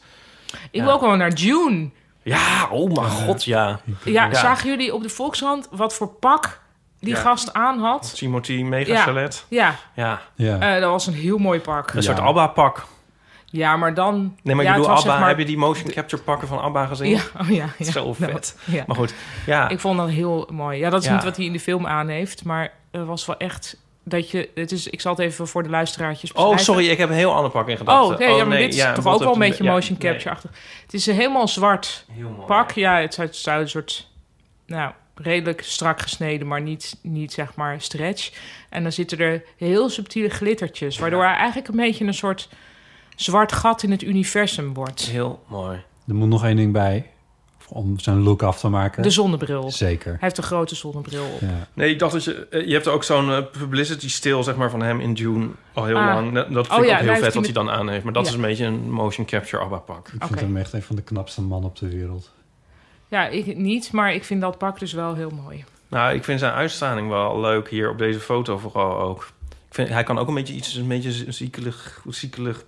Speaker 7: Ik
Speaker 6: Ja.
Speaker 7: wil ook wel naar June.
Speaker 6: Ja, oh mijn god, ja.
Speaker 7: Ja, zagen jullie op de Volksrand wat voor pak die
Speaker 6: Ja.
Speaker 7: gast aan had?
Speaker 6: Timothy
Speaker 7: Ja.
Speaker 6: Megachalet.
Speaker 7: Ja,
Speaker 6: Ja.
Speaker 7: Eh, dat was een heel mooi pak.
Speaker 6: Een soort ABBA-pak.
Speaker 7: Ja, maar dan...
Speaker 6: Nee, maar
Speaker 7: ja, het
Speaker 6: ik bedoel,
Speaker 7: was
Speaker 6: ABBA,
Speaker 7: zeg maar-
Speaker 6: heb je die motion capture pakken van ABBA gezien?
Speaker 7: Ja, oh ja. ja.
Speaker 6: [laughs] Zo
Speaker 7: Nou,
Speaker 6: vet.
Speaker 7: ja.
Speaker 6: Maar goed, ja.
Speaker 7: Ik vond dat heel mooi. Ja, dat is
Speaker 6: Ja.
Speaker 7: niet wat hij in de film aan heeft, maar het was wel echt dat je... Het is, ik zal het even voor de luisteraartjes
Speaker 6: Oh,
Speaker 7: beschrijven.
Speaker 6: sorry, ik heb een heel ander pak in
Speaker 7: Oh,
Speaker 6: gedachten.
Speaker 7: nee, ja, maar dit is
Speaker 6: ja,
Speaker 7: toch
Speaker 6: wat
Speaker 7: ook wel een
Speaker 6: heb-
Speaker 7: beetje
Speaker 6: ja,
Speaker 7: motion
Speaker 6: nee.
Speaker 7: capture-achtig. Het is een helemaal zwart pak. Ja, het zou, het zou een soort... Nou, redelijk strak gesneden, maar niet, niet zeg maar stretch. En dan zitten er heel subtiele glittertjes... waardoor hij eigenlijk een beetje een soort zwart gat in het universum wordt.
Speaker 6: Heel mooi.
Speaker 8: Er moet nog één ding bij om zijn look af te maken.
Speaker 7: De zonnebril.
Speaker 8: Zeker.
Speaker 7: Hij heeft een grote zonnebril op.
Speaker 8: Ja.
Speaker 6: Nee, ik dacht dat je... eh, Je hebt ook zo'n eh, publicity stil, zeg maar, van hem in June al heel
Speaker 7: Ah.
Speaker 6: lang. Dat dat
Speaker 7: Oh
Speaker 6: vind ik
Speaker 7: ja,
Speaker 6: ook
Speaker 7: daar
Speaker 6: heel
Speaker 7: heeft
Speaker 6: vet
Speaker 7: hij
Speaker 6: wat hij
Speaker 7: met-
Speaker 6: dan aan heeft. Maar dat
Speaker 7: Ja.
Speaker 6: is een beetje een motion capture ABBA-pak.
Speaker 8: Ik vind hem echt een van de knapste mannen op de wereld.
Speaker 7: Ja, ik niet, maar ik vind dat pak dus wel heel mooi.
Speaker 6: Nou, ik vind zijn uitstraling wel leuk hier op deze foto vooral ook. Ik vind, hij kan ook een beetje iets, een beetje ziekelig, ziekelig,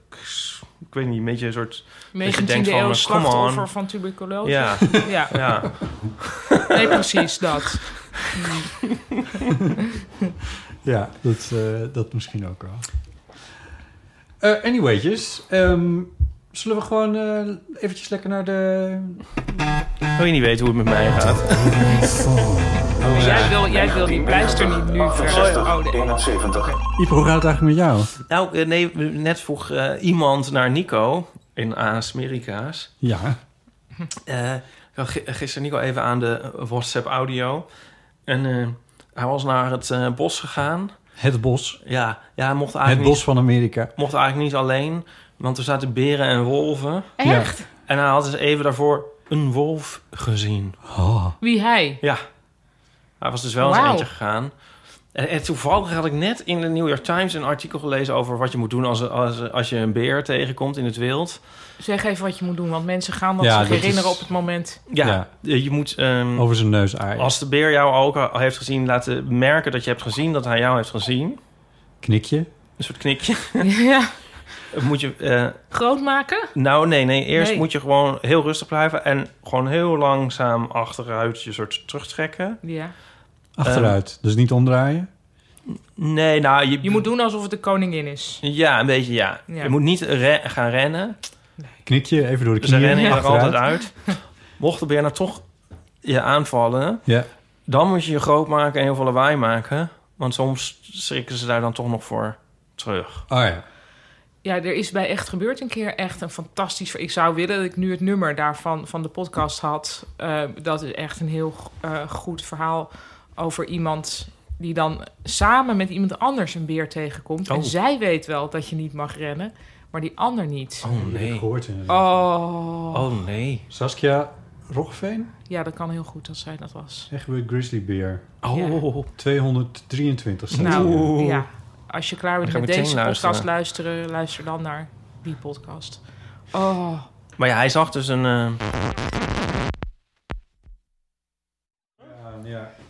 Speaker 6: ik weet niet, een beetje een soort... dat je
Speaker 7: 19e
Speaker 6: denkt
Speaker 7: eeuw
Speaker 6: van, eh, come on.
Speaker 7: slachtoffer van tuberculose.
Speaker 6: Ja.
Speaker 7: ja.
Speaker 6: Ja.
Speaker 7: Nee, precies dat.
Speaker 8: Ja, dat, eh, dat misschien ook wel. Eh anywayjes, ehm, zullen we gewoon eh, eventjes lekker naar de...
Speaker 6: Wil je niet weten hoe het met mij gaat? Oh,
Speaker 7: Dus Jij wil, jij wil die pleister niet nu verder. Oh, nee.
Speaker 9: 71.
Speaker 8: Ipo, hoe gaat het eigenlijk met jou?
Speaker 6: Nou, eh, nee, net vroeg eh, iemand naar Nico in Amerika's.
Speaker 8: Ja.
Speaker 6: Eh, ik had gi- gisteren Nico even aan de WhatsApp audio. En eh, hij was naar het eh, bos gegaan.
Speaker 8: Het bos.
Speaker 6: Ja, ja hij mocht
Speaker 8: Het
Speaker 6: eigenlijk,
Speaker 8: bos van Amerika.
Speaker 6: niet, mocht eigenlijk niet alleen. Want er zaten beren en wolven.
Speaker 7: Echt?
Speaker 6: En hij had dus even daarvoor een wolf gezien.
Speaker 8: Oh.
Speaker 7: Wie hij?
Speaker 6: Ja. Hij was dus wel eens
Speaker 7: Wauw.
Speaker 6: eentje gegaan. En, en toevallig had ik net in de New York Times een artikel gelezen over wat je moet doen als, als, als je een beer tegenkomt in het wild.
Speaker 7: Zeg even wat je moet doen, want mensen gaan dat
Speaker 8: Ja,
Speaker 7: zich
Speaker 8: dat
Speaker 7: herinneren
Speaker 8: is-
Speaker 7: op het moment. [laughs]
Speaker 6: Ja, eh, je moet... ehm,
Speaker 8: Over zijn neus aaien.
Speaker 6: als de beer jou ook al heeft gezien, laten merken dat je hebt gezien dat hij jou heeft gezien.
Speaker 8: Knikje.
Speaker 6: Een soort knikje.
Speaker 7: Ja.
Speaker 6: moet je, eh,
Speaker 7: Groot maken?
Speaker 6: nou, nee, nee. Eerst
Speaker 7: Nee.
Speaker 6: moet je gewoon heel rustig blijven en gewoon heel langzaam achteruit je soort terugtrekken.
Speaker 7: Ja.
Speaker 8: Achteruit. dus niet omdraaien.
Speaker 6: Nee, nou, je,
Speaker 7: Je moet doen alsof het de koningin is.
Speaker 6: Ja, een beetje ja.
Speaker 7: Ja.
Speaker 6: Je moet niet re- gaan rennen.
Speaker 8: Knikje, even door de
Speaker 6: Ze
Speaker 8: knieën.
Speaker 6: rennen er
Speaker 8: achteruit.
Speaker 6: altijd uit. [laughs] Mocht de beer nou toch je aanvallen,
Speaker 8: Ja.
Speaker 6: dan moet je je groot maken en heel veel lawaai maken. Want soms schrikken ze daar dan toch nog voor terug.
Speaker 8: Oh ja.
Speaker 7: Ja, er is bij Echt Gebeurd een keer echt een fantastisch... Ik zou willen dat ik nu het nummer daarvan van de podcast had. Eh, dat is echt een heel eh, goed verhaal over iemand die dan samen met iemand anders een beer tegenkomt.
Speaker 6: Oh.
Speaker 7: En zij weet wel dat je niet mag rennen, maar die ander niet.
Speaker 6: Oh nee.
Speaker 8: Gehoord inderdaad.
Speaker 7: Oh.
Speaker 6: Oh nee.
Speaker 8: Saskia Roggeveen.
Speaker 7: Ja, dat kan heel goed dat zij dat was.
Speaker 8: Echt weer Grizzly Bear.
Speaker 6: Oh.
Speaker 8: 223 staat
Speaker 7: Nou,
Speaker 8: hier.
Speaker 7: ja. Als je klaar bent
Speaker 6: Dan ga
Speaker 7: met
Speaker 6: ik
Speaker 7: deze
Speaker 6: meteen
Speaker 7: podcast luisteren, luister dan naar die podcast. Oh.
Speaker 6: Maar ja, hij zag dus een. eh,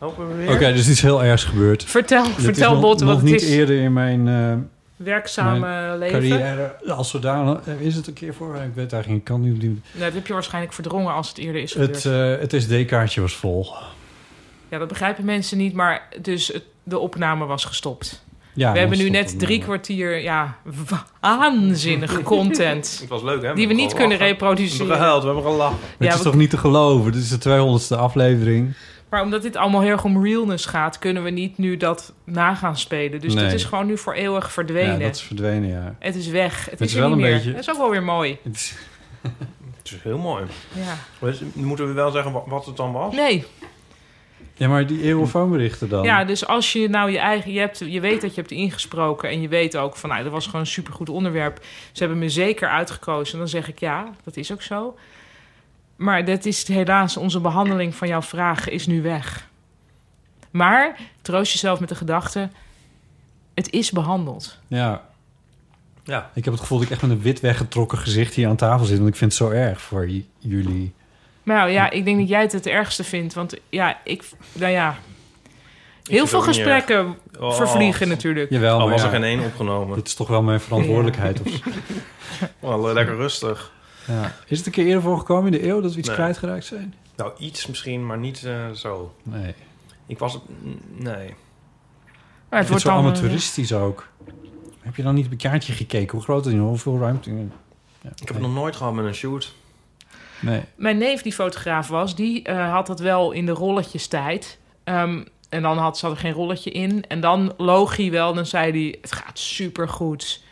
Speaker 6: Lopen we weer?
Speaker 8: Oké, dus iets heel ergs gebeurd.
Speaker 7: Vertel,
Speaker 8: Dit is
Speaker 7: vertel
Speaker 8: nog-
Speaker 7: Botte
Speaker 8: nog
Speaker 7: wat
Speaker 8: niet
Speaker 7: het is.
Speaker 8: eerder in mijn eh,
Speaker 7: Werkzame leven.
Speaker 8: carrière als zodanig. eh, Is het een keer voor? Ik weet eigenlijk niet. ik kan niet. doen.
Speaker 7: Nou, dat heb je waarschijnlijk verdrongen als het eerder is gebeurd.
Speaker 8: Het, eh, het SD-kaartje was vol.
Speaker 7: Ja, dat begrijpen mensen niet, maar dus het- de opname was gestopt.
Speaker 8: Ja,
Speaker 7: we hebben
Speaker 8: dat
Speaker 7: nu
Speaker 8: stond
Speaker 7: net
Speaker 8: er
Speaker 7: drie
Speaker 8: nog.
Speaker 7: kwartier ja, waanzinnige content.
Speaker 6: Het was leuk, hè?
Speaker 7: Die we niet
Speaker 6: hebben
Speaker 7: kunnen
Speaker 6: gelachen.
Speaker 7: reproduceren.
Speaker 6: We hebben gehuild, we hebben gelachen.
Speaker 8: Maar
Speaker 7: Ja,
Speaker 8: het is
Speaker 7: we-
Speaker 8: toch niet te geloven? Dit is de 200ste aflevering.
Speaker 7: Maar omdat dit allemaal heel erg om realness gaat, kunnen we niet nu dat na gaan spelen. Dus
Speaker 8: Nee.
Speaker 7: dat is gewoon nu voor eeuwig
Speaker 8: Ja,
Speaker 7: verdwenen.
Speaker 8: dat is verdwenen, ja.
Speaker 7: Het is weg. Het,
Speaker 8: Het
Speaker 7: is,
Speaker 8: is
Speaker 7: er
Speaker 8: wel
Speaker 7: niet
Speaker 8: een
Speaker 7: meer.
Speaker 8: beetje-
Speaker 7: Dat is ook wel weer mooi.
Speaker 8: Het is-
Speaker 6: Het is heel mooi.
Speaker 7: Ja.
Speaker 6: Dus moeten we wel zeggen wa- wat het dan was?
Speaker 7: Nee.
Speaker 8: Ja, maar die eeuwenfoonberichten dan?
Speaker 7: Ja, dus als je nou je eigen... Je, hebt, je weet dat je hebt ingesproken en je weet ook van... Nou, dat was gewoon een supergoed onderwerp. Ze hebben me zeker uitgekozen. Dan zeg ik ja, dat is ook zo. Maar dat is helaas, onze behandeling van jouw vraag is nu weg. Maar troost jezelf met de gedachte: het is behandeld.
Speaker 8: Ja. ja. Ik heb het gevoel dat ik echt met een wit weggetrokken gezicht hier aan tafel zit. Want ik vind het zo erg voor j- jullie.
Speaker 7: Nou ja, ik denk dat jij het het ergste vindt. Want ja, ik. Nou ja. Heel
Speaker 6: het
Speaker 7: veel
Speaker 6: ook niet
Speaker 7: gesprekken
Speaker 6: erg. Oh.
Speaker 7: vervliegen natuurlijk.
Speaker 8: Jawel,
Speaker 6: Al
Speaker 8: maar
Speaker 6: was e-
Speaker 8: ja,
Speaker 6: er geen één opgenomen.
Speaker 8: Dit is toch wel mijn verantwoordelijkheid. Of,
Speaker 6: [laughs] Wel eh, lekker rustig.
Speaker 8: ja. Is het een keer eerder voorgekomen in de eeuw dat we iets
Speaker 6: Nee.
Speaker 8: kwijtgeraakt zijn?
Speaker 6: Nou, iets misschien, maar niet eh, zo.
Speaker 8: Nee.
Speaker 6: Ik was... mm, Nee.
Speaker 7: Maar
Speaker 8: het
Speaker 7: het
Speaker 8: wordt
Speaker 7: wordt
Speaker 8: zo
Speaker 7: dan, eh,
Speaker 8: amateuristisch ook. Heb je dan niet op een kaartje gekeken? Hoe groot het is, hoeveel ruimte? Ja,
Speaker 6: Ik heb het nog nooit gehad met een shoot.
Speaker 8: Nee.
Speaker 7: Mijn neef, die fotograaf was, die eh, had dat wel in de rolletjes tijd. Ehm, en dan had, zat er geen rolletje in. En dan loog hij wel, dan zei hij: Het gaat supergoed.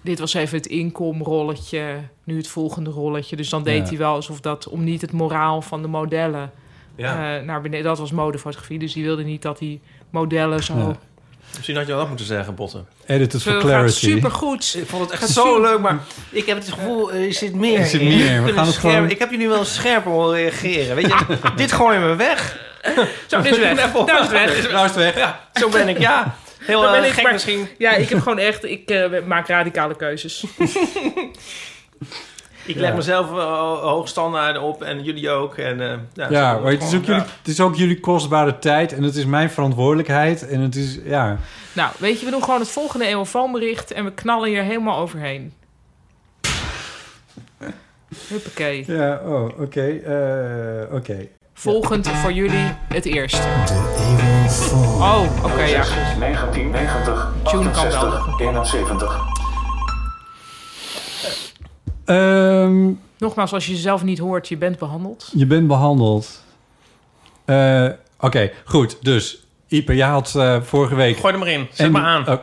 Speaker 7: Dit was even het inkomrolletje, nu het volgende rolletje. Dus dan deed
Speaker 6: Ja.
Speaker 7: hij wel alsof dat om niet het moraal van de modellen
Speaker 6: Ja.
Speaker 7: eh, naar beneden. Dat was modefotografie, dus die wilde niet dat die modellen zo.
Speaker 6: Ja. Misschien had je dat moeten zeggen, Botten.
Speaker 8: Edit
Speaker 7: Zo, het gaat supergoed.
Speaker 6: Ik vond het echt
Speaker 7: Gaat
Speaker 6: zo
Speaker 7: super-
Speaker 6: leuk, maar ik heb het gevoel, eh, er zit meer
Speaker 8: Er zit
Speaker 6: in.
Speaker 8: meer, we
Speaker 6: Ik ben
Speaker 8: gaan
Speaker 6: een
Speaker 8: het
Speaker 6: scherp-
Speaker 8: gewoon-
Speaker 6: Ik heb jullie wel scherper horen reageren. Weet
Speaker 8: [laughs]
Speaker 6: je, dit gooien we weg.
Speaker 7: Zo, dit is
Speaker 6: [laughs]
Speaker 7: weg.
Speaker 6: Even op-
Speaker 7: Nou is het weg.
Speaker 8: [laughs] Nou is het weg.
Speaker 6: Ja, zo ben ik, ja. Heel
Speaker 7: Dan
Speaker 6: eh,
Speaker 7: ben ik
Speaker 6: gek
Speaker 7: maar-
Speaker 6: misschien.
Speaker 7: Ja, ik
Speaker 8: [laughs]
Speaker 7: heb gewoon echt, ik eh, maak radicale keuzes.
Speaker 6: Ik leg
Speaker 8: Ja.
Speaker 6: mezelf eh, hoogstandaarden op en jullie ook. En, eh, ja, zo
Speaker 8: Ja,
Speaker 6: wordt
Speaker 8: maar het is,
Speaker 6: gewoon,
Speaker 8: ook jullie, het is ook jullie kostbare tijd en het is mijn verantwoordelijkheid. En het is, ja,
Speaker 7: Nou, weet je, we doen gewoon het volgende eeuwenfoonbericht en we knallen hier helemaal overheen. Huppakee.
Speaker 8: Ja, oh, oké. eh, oké.
Speaker 7: Volgend voor jullie het eerste. Oh, oké, ja.
Speaker 9: 1990,
Speaker 7: Tune kan wel.
Speaker 9: 68, 71.
Speaker 8: Ehm,
Speaker 7: Nogmaals, als je jezelf niet hoort, je bent behandeld.
Speaker 8: je bent behandeld. Eh, oké, goed. Dus, Ipe, jij had eh, vorige week...
Speaker 6: Gooi er maar in. Zet maar aan.
Speaker 8: oh,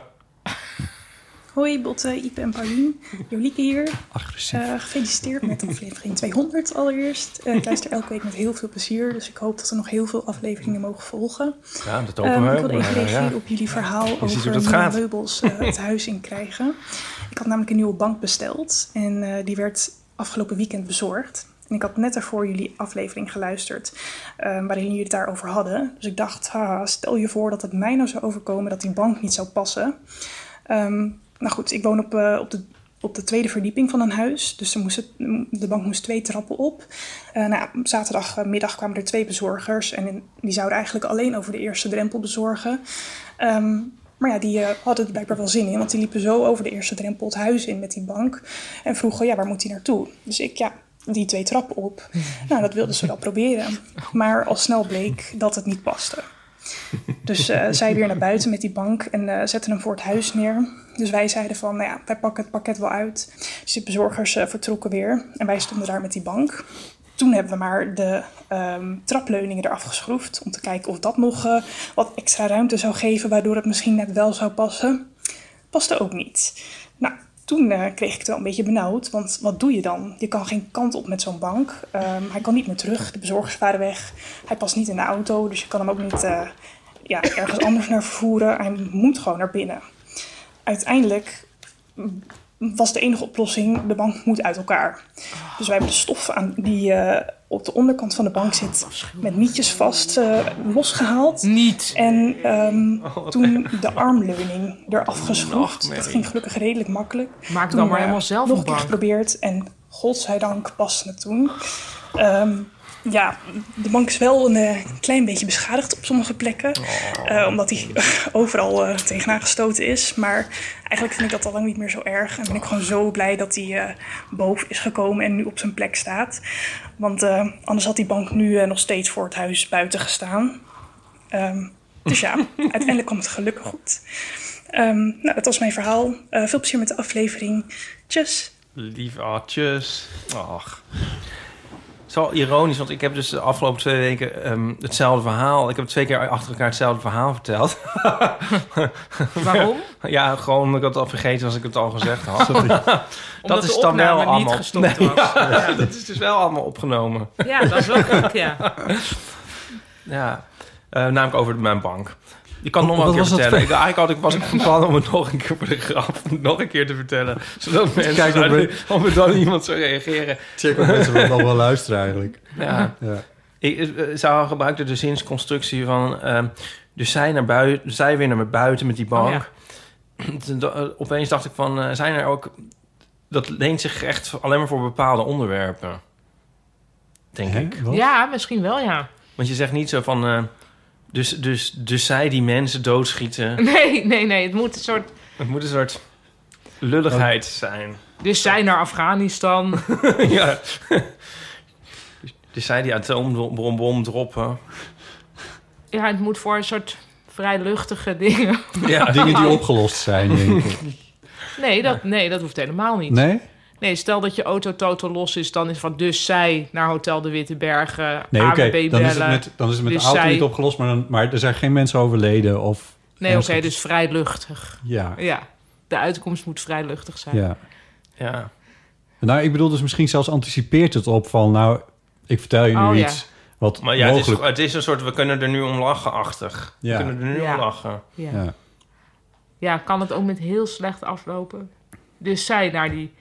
Speaker 10: Hoi Botte, Ipe en Paulien. Jolieke hier.
Speaker 8: Agressief.
Speaker 10: gefeliciteerd met aflevering 200 allereerst. Eh, ik luister elke week met heel veel plezier, dus ik hoop dat er nog heel veel afleveringen mogen volgen.
Speaker 6: Ja, dat
Speaker 10: Ehm,
Speaker 6: hopen we.
Speaker 10: Ik wilde even
Speaker 6: maar, eh, ja.
Speaker 10: reageren op jullie verhaal
Speaker 6: Je ziet
Speaker 10: over
Speaker 6: hoe dat
Speaker 10: nieuwe
Speaker 6: gaat.
Speaker 10: meubels eh,
Speaker 6: [laughs]
Speaker 10: het huis in krijgen. Ik had namelijk een nieuwe bank besteld en eh, die werd afgelopen weekend bezorgd. En ik had net daarvoor jullie aflevering geluisterd eh, waarin jullie het daarover hadden. Dus ik dacht, haha, stel je voor dat het mij nou zou overkomen dat die bank niet zou passen. Ehm, nou goed, ik woon op, eh, op, de, op de tweede verdieping van een huis. Dus er moest het- de bank moest twee trappen op. Eh, nou, zaterdagmiddag kwamen er twee bezorgers. En in- die zouden eigenlijk alleen over de eerste drempel bezorgen. Ehm, maar ja, die eh, hadden er blijkbaar wel zin in. Want die liepen zo over de eerste drempel het huis in met die bank. En vroegen, ja, waar moet die naartoe? Dus ik, ja, die twee trappen op. Nou, dat wilden ze wel proberen. Maar al snel bleek dat het niet paste. Dus eh, zij weer naar buiten met die bank en eh, zetten hem voor het huis neer. Dus wij zeiden van, nou ja, wij pakken het pakket wel uit. Dus de bezorgers eh, vertrokken weer en wij stonden daar met die bank. Toen hebben we maar de ehm, trapleuningen eraf geschroefd om te kijken of dat nog eh, wat extra ruimte zou geven, waardoor het misschien net wel zou passen. Paste ook niet. Nou, toen eh, kreeg ik het wel een beetje benauwd, want wat doe je dan? Je kan geen kant op met zo'n bank. Ehm, hij kan niet meer terug, de bezorgers waren weg. Hij past niet in de auto, dus je kan hem ook niet eh, ja, ergens anders naar vervoeren. Hij moet gewoon naar binnen. Uiteindelijk mm, was de enige oplossing, de bank moet uit elkaar. Dus wij hebben de stof aan die eh, op de onderkant van de
Speaker 7: Ah,
Speaker 10: bank zit met nietjes vast eh, losgehaald.
Speaker 7: Niet. Oh,
Speaker 10: En ehm,
Speaker 7: [laughs]
Speaker 10: toen de armleuning eraf geschroefd.
Speaker 7: Mary.
Speaker 10: Dat ging gelukkig redelijk makkelijk.
Speaker 7: Maak
Speaker 10: Toen,
Speaker 7: dan maar
Speaker 10: eh,
Speaker 7: helemaal zelf
Speaker 10: nog
Speaker 7: een
Speaker 10: een keer
Speaker 7: bank.
Speaker 10: geprobeerd en godzijdank paste het toen. Ehm, ja, de bank is wel een eh, klein beetje beschadigd op sommige plekken. eh, omdat die [laughs] overal eh, tegenaan gestoten is. Maar eigenlijk vind ik dat al lang niet meer zo erg. En ben ik gewoon zo blij dat die eh, boven is gekomen en nu op zijn plek staat. Want eh, anders had die bank nu eh, nog steeds voor het huis buiten gestaan. Ehm, dus ja, uiteindelijk kwam het gelukkig goed. Ehm, nou, dat was mijn verhaal. Eh, veel plezier met de aflevering. Tjus!
Speaker 6: Lief artjes. Ach. Het is wel ironisch, want ik heb dus de afgelopen twee weken ehm, hetzelfde verhaal. Ik heb twee keer achter elkaar hetzelfde verhaal verteld. [laughs]
Speaker 7: Waarom?
Speaker 6: Ja, gewoon omdat ik het al vergeten was als ik het al gezegd had. [laughs]
Speaker 7: Sorry. Omdat de opname niet gestopt was.
Speaker 6: ja,
Speaker 7: Ja.
Speaker 6: [laughs] Dat is dus wel allemaal opgenomen.
Speaker 7: Ja, dat is wel gek, ja.
Speaker 6: Ja, eh, namelijk over mijn bank. Je kan het nog wel
Speaker 8: Wat
Speaker 6: een keer
Speaker 8: was dat [laughs]
Speaker 6: vertellen. Ik,
Speaker 8: voor-
Speaker 6: eigenlijk had ik, was ik van plan om het nog een keer voor de grap [laughs] nog een keer te vertellen. Zodat mensen...
Speaker 8: Kijk, of
Speaker 6: zouden-
Speaker 8: we-
Speaker 6: of er dan iemand zou reageren.
Speaker 8: Check of mensen dat wel luisteren eigenlijk.
Speaker 6: Ja.
Speaker 8: Ja.
Speaker 6: Ik, eh, Sarah gebruikte de zinsconstructie van... ehm, dus zij, naar buiten, zij weer naar buiten met die
Speaker 7: Oh,
Speaker 6: bank. [clears throat] Toen da- eh, Opeens dacht ik van, eh, zijn er ook... Dat leent zich echt alleen maar voor bepaalde onderwerpen. Denk ik.
Speaker 7: Ja, misschien wel, ja.
Speaker 6: Want je zegt niet zo van... eh, dus, dus, dus zij die mensen doodschieten.
Speaker 7: [laughs] Nee, nee, nee. Het moet een soort...
Speaker 6: Het moet een soort lulligheid
Speaker 7: [laughs]
Speaker 6: zijn.
Speaker 7: Dus zij naar Afghanistan.
Speaker 6: ja. [laughs] Dus zij die atoombom droppen.
Speaker 7: Ja, het moet voor een soort vrij luchtige dingen. [laughs]
Speaker 8: Dingen die opgelost
Speaker 6: [laughs]
Speaker 8: zijn, denk ik.
Speaker 7: Nee dat, nee, dat hoeft helemaal niet.
Speaker 8: Nee?
Speaker 7: Nee, stel dat je auto totaal los is, dan is van dus zij naar Hotel de Witte Bergen,
Speaker 8: Nee, oké,
Speaker 7: AWB bellen.
Speaker 8: dan, is het met- dan is het met
Speaker 7: Dus
Speaker 8: de auto
Speaker 7: zij-
Speaker 8: niet opgelost, maar, dan, maar er zijn geen mensen overleden of...
Speaker 7: Nee, oké,
Speaker 8: ernstig-
Speaker 7: dus vrij luchtig.
Speaker 8: Ja.
Speaker 7: ja. De uitkomst moet vrij luchtig zijn.
Speaker 8: Ja.
Speaker 6: Ja.
Speaker 8: Nou, ik bedoel dus misschien zelfs anticipeert het op van... nou, ik vertel je nu
Speaker 6: Oh, ja.
Speaker 8: iets wat
Speaker 6: Maar ja, het is,
Speaker 8: mogelijk...
Speaker 6: het is een soort, we kunnen er nu om lachen-achtig.
Speaker 8: Ja.
Speaker 6: We kunnen er nu
Speaker 7: Ja.
Speaker 6: om lachen.
Speaker 7: Ja.
Speaker 8: Ja.
Speaker 7: Ja, kan het ook met heel slecht aflopen. Dus zij naar die...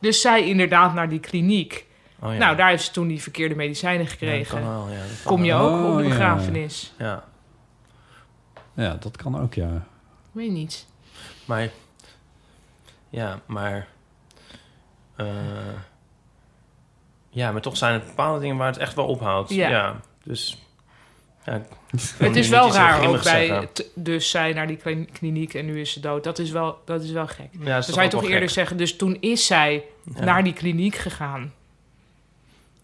Speaker 7: Dus zij inderdaad naar die kliniek.
Speaker 6: Oh ja.
Speaker 7: Nou, daar heeft ze toen die verkeerde medicijnen gekregen.
Speaker 6: kan wel, ja, dat kan
Speaker 7: Kom je
Speaker 8: wel.
Speaker 7: ook op de
Speaker 8: Oh, ja.
Speaker 7: begrafenis?
Speaker 6: Ja.
Speaker 8: Ja, dat kan ook, ja.
Speaker 7: Ik weet niet.
Speaker 6: Maar, ja, maar... eh, ja, maar toch zijn er bepaalde dingen waar het echt wel ophoudt.
Speaker 7: Ja.
Speaker 6: Ja. dus... Ja, ik wil
Speaker 7: Het
Speaker 6: nu
Speaker 7: is
Speaker 6: niet
Speaker 7: wel
Speaker 6: iets heel
Speaker 7: raar ook
Speaker 6: grimmigs
Speaker 7: bij...
Speaker 6: zeggen.
Speaker 7: t- Dus zij naar die kli- kliniek en nu is ze dood. Dat is wel, dat is wel gek.
Speaker 6: is
Speaker 7: Dan
Speaker 6: toch
Speaker 7: zou je
Speaker 6: ook
Speaker 7: toch
Speaker 6: wel
Speaker 7: eerder
Speaker 6: gek.
Speaker 7: zeggen... Dus toen is zij
Speaker 6: Ja.
Speaker 7: naar die kliniek gegaan.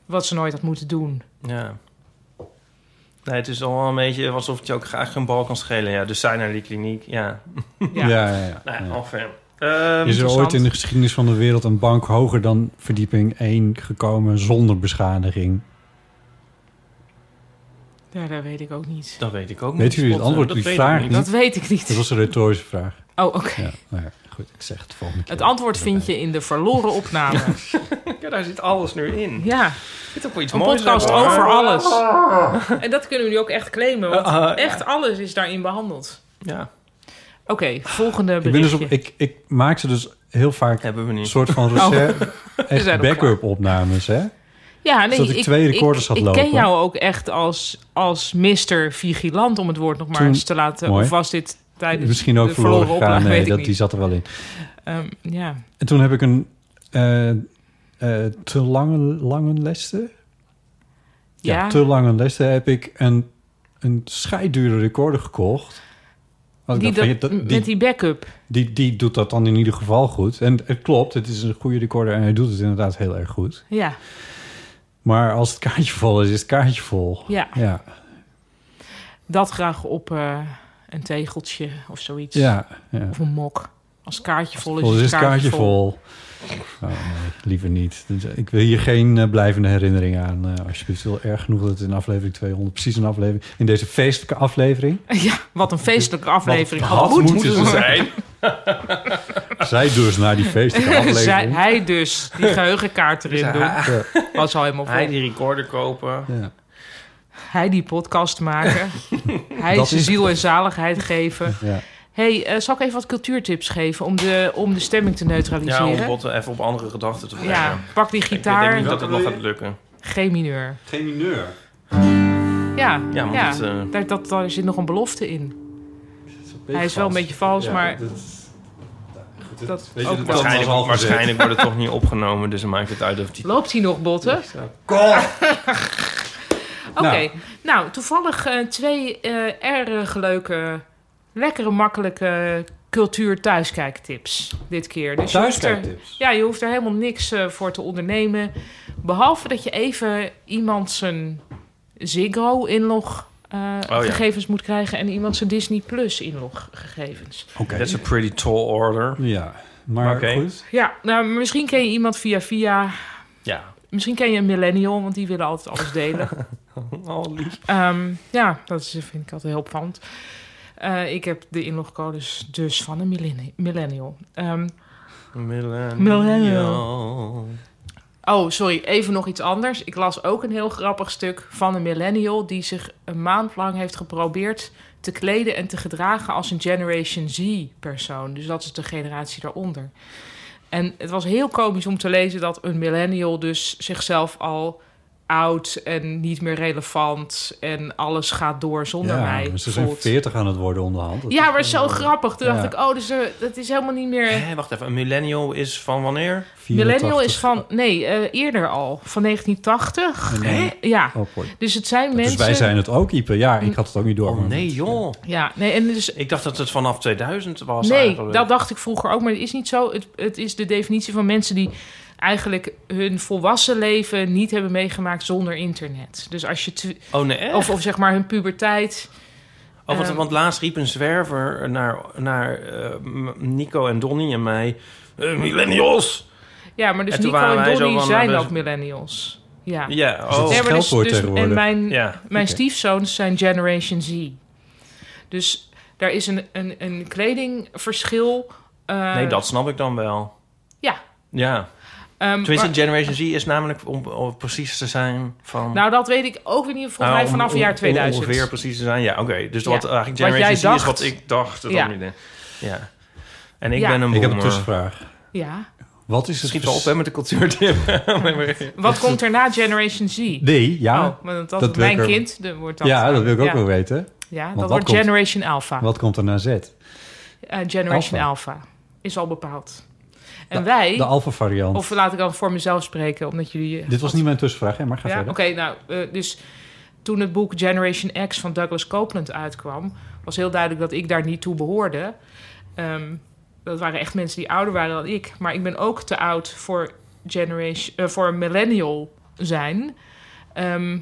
Speaker 7: Wat ze nooit had moeten doen.
Speaker 6: Ja. Nee, het is al wel een beetje alsof het je ook graag een bal kan schelen. Ja, dus zij naar die kliniek, ja.
Speaker 8: Ja, ja, ja.
Speaker 6: Nou
Speaker 8: Ja.
Speaker 6: ja, ongeveer. Ehm,
Speaker 8: is er ooit
Speaker 6: interessant.
Speaker 8: in de geschiedenis van de wereld een bank hoger dan verdieping 1 gekomen zonder beschadiging?
Speaker 7: Ja, dat weet ik ook niet.
Speaker 6: Dat eh, weet ik ook
Speaker 8: Weet jullie het antwoord op die vraag niet?
Speaker 7: Dat weet ik niet.
Speaker 8: Dat was een retorische vraag.
Speaker 7: Oh, oké.
Speaker 8: Ja, nou ja, goed, ik zeg het volgende keer.
Speaker 7: Het antwoord vind je in de verloren opname.
Speaker 6: Ja, daar zit alles nu in.
Speaker 7: Ja.
Speaker 6: Er zit ook wel iets
Speaker 7: Een
Speaker 6: moois
Speaker 7: podcast
Speaker 6: aan, hoor.
Speaker 7: over alles. En dat kunnen jullie ook echt claimen, want
Speaker 6: Eh, eh, ja.
Speaker 7: echt alles is daarin behandeld.
Speaker 6: Ja.
Speaker 7: Oké, volgende
Speaker 8: Ik, ben dus
Speaker 7: eh, berichtje.
Speaker 8: op, ik, ik maak ze dus heel vaak een soort van
Speaker 7: Oh. [laughs]
Speaker 8: reserve,
Speaker 7: We zijn
Speaker 8: echt
Speaker 7: nog
Speaker 8: backup opnames, hè?
Speaker 7: ja, nee,
Speaker 8: zodat ik twee recorders had
Speaker 7: ik,
Speaker 8: lopen.
Speaker 7: Ik ken jou Oh, ook echt als, als
Speaker 8: Oh,
Speaker 7: Mr. Vigilant, om het woord nog maar
Speaker 8: Toen-
Speaker 7: eens te laten.
Speaker 8: Mooi.
Speaker 7: Of was dit tijdens
Speaker 8: Misschien ook
Speaker 7: de
Speaker 8: verloren
Speaker 7: verloren
Speaker 8: gegaan.
Speaker 7: opname?
Speaker 8: Nee,
Speaker 7: weet ik
Speaker 8: dat,
Speaker 7: niet.
Speaker 8: die zat er wel in.
Speaker 7: Ehm, ja.
Speaker 8: En toen heb ik een eh, eh, te lange, lange leste. Ja.
Speaker 7: Ja.
Speaker 8: te lange leste heb ik een, een scheidure recorder gekocht. Want ik
Speaker 7: Die
Speaker 8: dacht van,
Speaker 7: dat-
Speaker 8: ja, dat-
Speaker 7: met die backup.
Speaker 8: Die, die doet dat dan in ieder geval goed. En het klopt, het is een goede recorder en hij doet het inderdaad heel erg goed.
Speaker 7: Ja.
Speaker 8: Maar als het kaartje vol is, is het kaartje vol.
Speaker 7: Ja.
Speaker 8: Ja.
Speaker 7: Dat graag op eh, een tegeltje of zoiets.
Speaker 8: Ja, ja.
Speaker 7: Of een mok. Als het kaartje vol is,
Speaker 8: Vol is
Speaker 7: het
Speaker 8: het kaartje vol. Oh, nee, liever niet. Dus, eh, Ik wil hier geen eh, blijvende herinnering aan. eh, alsjeblieft, Het is wel erg genoeg dat het in aflevering 200 precies een aflevering... in deze feestelijke aflevering...
Speaker 7: Ja, wat een feestelijke aflevering.
Speaker 8: had moeten ze zijn. [laughs] zij dus naar die feestelijke aflevering...
Speaker 7: [laughs] Zij- hij dus, die geheugenkaart erin
Speaker 6: Dus
Speaker 7: doen.
Speaker 6: hij-
Speaker 7: Was al helemaal vol.
Speaker 6: Hij
Speaker 7: Hij,
Speaker 6: die recorder kopen.
Speaker 8: Ja.
Speaker 7: die podcast maken. hij
Speaker 6: Dat
Speaker 7: zijn
Speaker 6: is-
Speaker 7: ziel en zaligheid geven.
Speaker 8: Ja.
Speaker 7: hey, eh, zal ik even wat cultuurtips geven om de, om de stemming te neutraliseren?
Speaker 6: om botten even op andere gedachten te brengen.
Speaker 7: Ja, pak die
Speaker 6: Ik
Speaker 7: gitaar.
Speaker 6: denk niet dat het nog gaat lukken.
Speaker 7: G mineur.
Speaker 8: Geen mineur.
Speaker 7: Ja,
Speaker 6: Ja,
Speaker 7: ja,
Speaker 6: maar dat, eh,
Speaker 7: daar, dat, daar zit nog een belofte in.
Speaker 8: beetje
Speaker 7: hij is wel een
Speaker 8: vals.
Speaker 7: beetje vals,
Speaker 8: Ja,
Speaker 7: maar...
Speaker 8: dat-
Speaker 7: dat,
Speaker 8: weet je,
Speaker 7: ook wel.
Speaker 8: dat was
Speaker 6: Waarschijnlijk,
Speaker 8: al gezegd.
Speaker 6: waarschijnlijk wordt het toch niet opgenomen, dus dan maakt het uit of die...
Speaker 7: Loopt hij nog, Botten?
Speaker 8: Kom!
Speaker 7: [laughs] Oké, nou, toevallig eh, twee eh, erg leuke, lekkere, makkelijke cultuur thuiskijktips dit keer. je hoeft er-
Speaker 8: Thuiskijktips?
Speaker 7: ja, je hoeft er helemaal niks eh, voor te ondernemen. Behalve dat je even iemand zijn Ziggo-inlog eh,
Speaker 6: Oh ja.
Speaker 7: gegevens moet krijgen... en iemand zijn Disney Plus-inlog gegevens.
Speaker 6: That's a pretty tall order.
Speaker 8: Ja, maar goed.
Speaker 7: Ja, nou, misschien ken je iemand via via.
Speaker 6: Ja.
Speaker 7: Misschien ken je een millennial, want die willen altijd alles delen.
Speaker 6: Al lief.
Speaker 7: Ehm, ja, dat is, vind ik altijd heel opvallend. Eh, ik heb de inlogcodes dus van een millenni- millennial. Ehm,
Speaker 6: Millennial.
Speaker 7: Millennial. Oh, sorry, even nog iets anders. Ik las ook een heel grappig stuk van een millennial die zich een maand lang heeft geprobeerd te kleden en te gedragen als een Generation Z-persoon. Dus dat is de generatie daaronder. En het was heel komisch om te lezen dat een millennial dus zichzelf al oud en niet meer relevant en alles gaat door zonder
Speaker 8: ja,
Speaker 7: mij.
Speaker 8: maar ze zijn
Speaker 7: voelt.
Speaker 8: 40 aan het worden onderhand. Dat-
Speaker 7: Ja, maar zo grappig. Toen
Speaker 8: Ja.
Speaker 7: dacht ik, oh, dus, eh, dat is helemaal niet meer.
Speaker 6: Hé, wacht even. Een millennial is van wanneer?
Speaker 7: Millennial is van, nee, eh, eerder al, van 1980.
Speaker 8: Nee.
Speaker 7: Ja.
Speaker 8: Oh, boy.
Speaker 7: Dus het zijn
Speaker 8: Dus
Speaker 7: mensen.
Speaker 8: wij zijn het ook, Ipe. Ja, ik had het ook niet door. maar-
Speaker 6: Oh, Nee, joh.
Speaker 7: Ja, nee, en dus.
Speaker 6: Ik dacht dat het vanaf 2000 was
Speaker 7: nee,
Speaker 6: eigenlijk.
Speaker 7: dat dacht ik vroeger ook, maar het is niet zo. Het, het is de definitie van mensen die eigenlijk hun volwassen leven niet hebben meegemaakt zonder internet. Dus als je. tw-
Speaker 6: Oh, nee, echt?
Speaker 7: Of, of zeg maar hun puberteit.
Speaker 6: Oh, want,
Speaker 7: Ehm.
Speaker 6: want laatst riep een zwerver naar, naar eh, m- Nico en Donnie en mij... eh, millennials!
Speaker 7: Ja, maar dus
Speaker 6: En toen
Speaker 7: Nico
Speaker 6: waren wij
Speaker 7: en
Speaker 6: zo
Speaker 7: Donnie
Speaker 6: van,
Speaker 7: zijn
Speaker 6: eh,
Speaker 7: ook
Speaker 6: dus-
Speaker 7: millennials. Ja,
Speaker 6: Ja, Dus dat is
Speaker 7: Nee, maar dus,
Speaker 6: scheldwoord
Speaker 7: dus-
Speaker 6: tegenwoordig.
Speaker 7: En mijn,
Speaker 6: Ja,
Speaker 7: mijn
Speaker 6: oké.
Speaker 7: stiefzoons zijn Generation Z. Dus daar is een, een, een kledingverschil. eh,
Speaker 6: nee, dat snap ik dan wel.
Speaker 7: Ja.
Speaker 6: Ja.
Speaker 7: Ehm,
Speaker 6: Tenminste,
Speaker 7: maar-
Speaker 6: Generation Z is namelijk, om, om precies te zijn, van...
Speaker 7: Nou, dat weet ik ook weer niet. Volgens
Speaker 6: Nou,
Speaker 7: mij
Speaker 6: om-
Speaker 7: vanaf
Speaker 6: om-
Speaker 7: het jaar
Speaker 6: om
Speaker 7: 2000.
Speaker 6: Ongeveer precies te zijn, ja, oké. Dus
Speaker 7: Ja.
Speaker 6: wat eigenlijk
Speaker 7: Wat
Speaker 6: Generation Z
Speaker 7: jij
Speaker 6: is
Speaker 7: dacht.
Speaker 6: wat ik dacht. Dat
Speaker 7: Ja.
Speaker 6: niet, hè. ja. En ik
Speaker 7: Ja.
Speaker 6: ben een
Speaker 8: Ik heb dus- een
Speaker 6: boomer.
Speaker 8: tussenvraag.
Speaker 7: Ja.
Speaker 8: Wat is het
Speaker 6: Schiet
Speaker 8: vers-
Speaker 6: wel op hè, met de cultuurdip.
Speaker 7: [laughs] Wat komt er na Generation Z?
Speaker 8: Nee, ja.
Speaker 7: Oh, want dat,
Speaker 8: Dat wil ik
Speaker 7: mijn
Speaker 8: er-
Speaker 7: kind de, wordt dat.
Speaker 8: Ja, dat wil ik ook
Speaker 7: Ja.
Speaker 8: wel weten.
Speaker 7: Ja,
Speaker 8: Want
Speaker 7: dat
Speaker 8: wat
Speaker 7: wordt
Speaker 8: komt-
Speaker 7: Generation Alpha.
Speaker 8: Wat komt er na Z?
Speaker 7: Eh, Generation Alpha. Is al bepaald. En wij...
Speaker 8: de alpha variant.
Speaker 7: Of laat ik dan voor mezelf spreken, omdat jullie...
Speaker 8: Dit was niet mijn tussenvraag, hè, maar ga
Speaker 7: Ja, oké,
Speaker 8: verder.
Speaker 7: nou, eh, dus toen het boek Generation X van Douglas Copeland uitkwam, was heel duidelijk dat ik daar niet toe behoorde. Ehm, dat waren echt mensen die ouder waren dan ik, maar ik ben ook te oud voor generation, eh, voor millennial zijn. Ehm,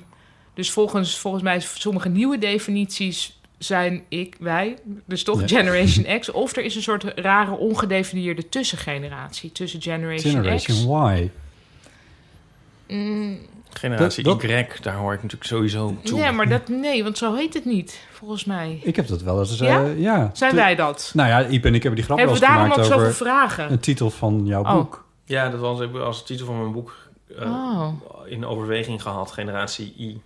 Speaker 7: dus volgens, volgens mij sommige nieuwe definities zijn ik, wij, dus toch
Speaker 8: Ja.
Speaker 7: Generation X. Of er is een soort rare ongedefinieerde tussengeneratie tussen Generation, X.
Speaker 8: Generation Y.
Speaker 7: Mm,
Speaker 6: Generatie
Speaker 8: Dat-
Speaker 6: Y, daar hoor ik natuurlijk sowieso toe.
Speaker 7: Nee, maar dat, nee, want zo heet het niet, volgens mij.
Speaker 8: Ik heb dat wel eens...
Speaker 7: Ja?
Speaker 8: eh, ja.
Speaker 7: Zijn
Speaker 8: Tu-
Speaker 7: wij dat?
Speaker 8: Nou ja, Iep en ik hebben die grap wel
Speaker 7: Hebben
Speaker 8: eens
Speaker 7: we daarom
Speaker 8: gemaakt
Speaker 7: ook
Speaker 8: over Eh,
Speaker 7: zoveel vragen?
Speaker 8: een titel van jouw
Speaker 7: Oh.
Speaker 8: boek.
Speaker 6: Ja, dat was ik- als titel van mijn boek eh,
Speaker 7: Oh.
Speaker 6: in overweging gehad. Generatie Y.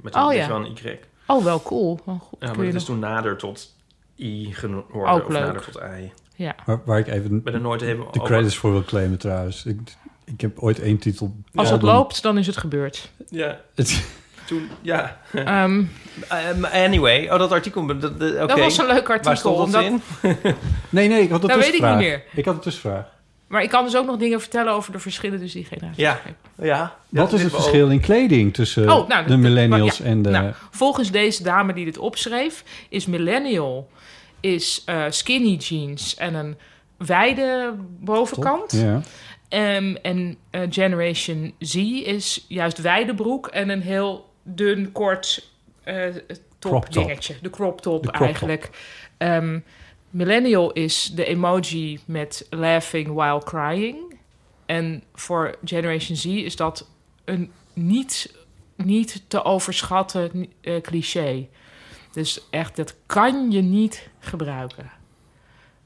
Speaker 6: Met een
Speaker 7: Oh,
Speaker 6: is
Speaker 7: ja.
Speaker 6: wel een Y.
Speaker 7: Oh, wel cool. Oh, goed,
Speaker 6: Ja,
Speaker 7: kun
Speaker 6: maar
Speaker 7: je
Speaker 6: dat is
Speaker 7: nog-
Speaker 6: toen nader tot I geworden.
Speaker 7: Ook
Speaker 6: of
Speaker 7: leuk.
Speaker 6: nader tot I.
Speaker 7: Ja.
Speaker 8: Waar, waar ik even
Speaker 6: Ben er nooit even
Speaker 8: de
Speaker 6: over-
Speaker 8: credits voor wil claimen trouwens. Ik, ik heb ooit één titel...
Speaker 7: Als het
Speaker 8: album-
Speaker 7: loopt, dan is het gebeurd.
Speaker 6: Ja.
Speaker 8: Het-
Speaker 6: Toen, ja.
Speaker 7: Ehm.
Speaker 6: Ehm, anyway, oh, dat artikel. Dat, dat, oké.
Speaker 7: was een leuk
Speaker 6: Waar
Speaker 7: artikel,
Speaker 6: stond dat
Speaker 7: omdat-
Speaker 6: in?
Speaker 8: Nee, nee, ik
Speaker 7: Dat Nou,
Speaker 8: had een
Speaker 7: weet ik niet
Speaker 8: tussenvraag.
Speaker 7: meer.
Speaker 8: Ik had een tussenvraag.
Speaker 7: Maar ik kan dus ook nog dingen vertellen over de verschillen tussen die generaties.
Speaker 6: Ja. ja.
Speaker 8: Wat is het verschil in kleding tussen
Speaker 7: Oh, nou,
Speaker 8: de
Speaker 7: dat-
Speaker 8: millennials
Speaker 7: ja.
Speaker 8: en de...
Speaker 7: Nou, volgens deze dame die dit opschreef, is millennial is eh, skinny jeans en een wijde bovenkant.
Speaker 8: ja.
Speaker 7: Ehm, en eh, Generation Z is juist wijde broek en een heel dun, kort eh
Speaker 8: Crop
Speaker 7: top
Speaker 8: top.
Speaker 7: dingetje. De crop top
Speaker 8: De crop top.
Speaker 7: eigenlijk. Ehm, millennial is de emoji met laughing while crying. En voor Generation Z is dat een niet, niet te overschatten eh, cliché. Dus echt, dat kan je niet gebruiken.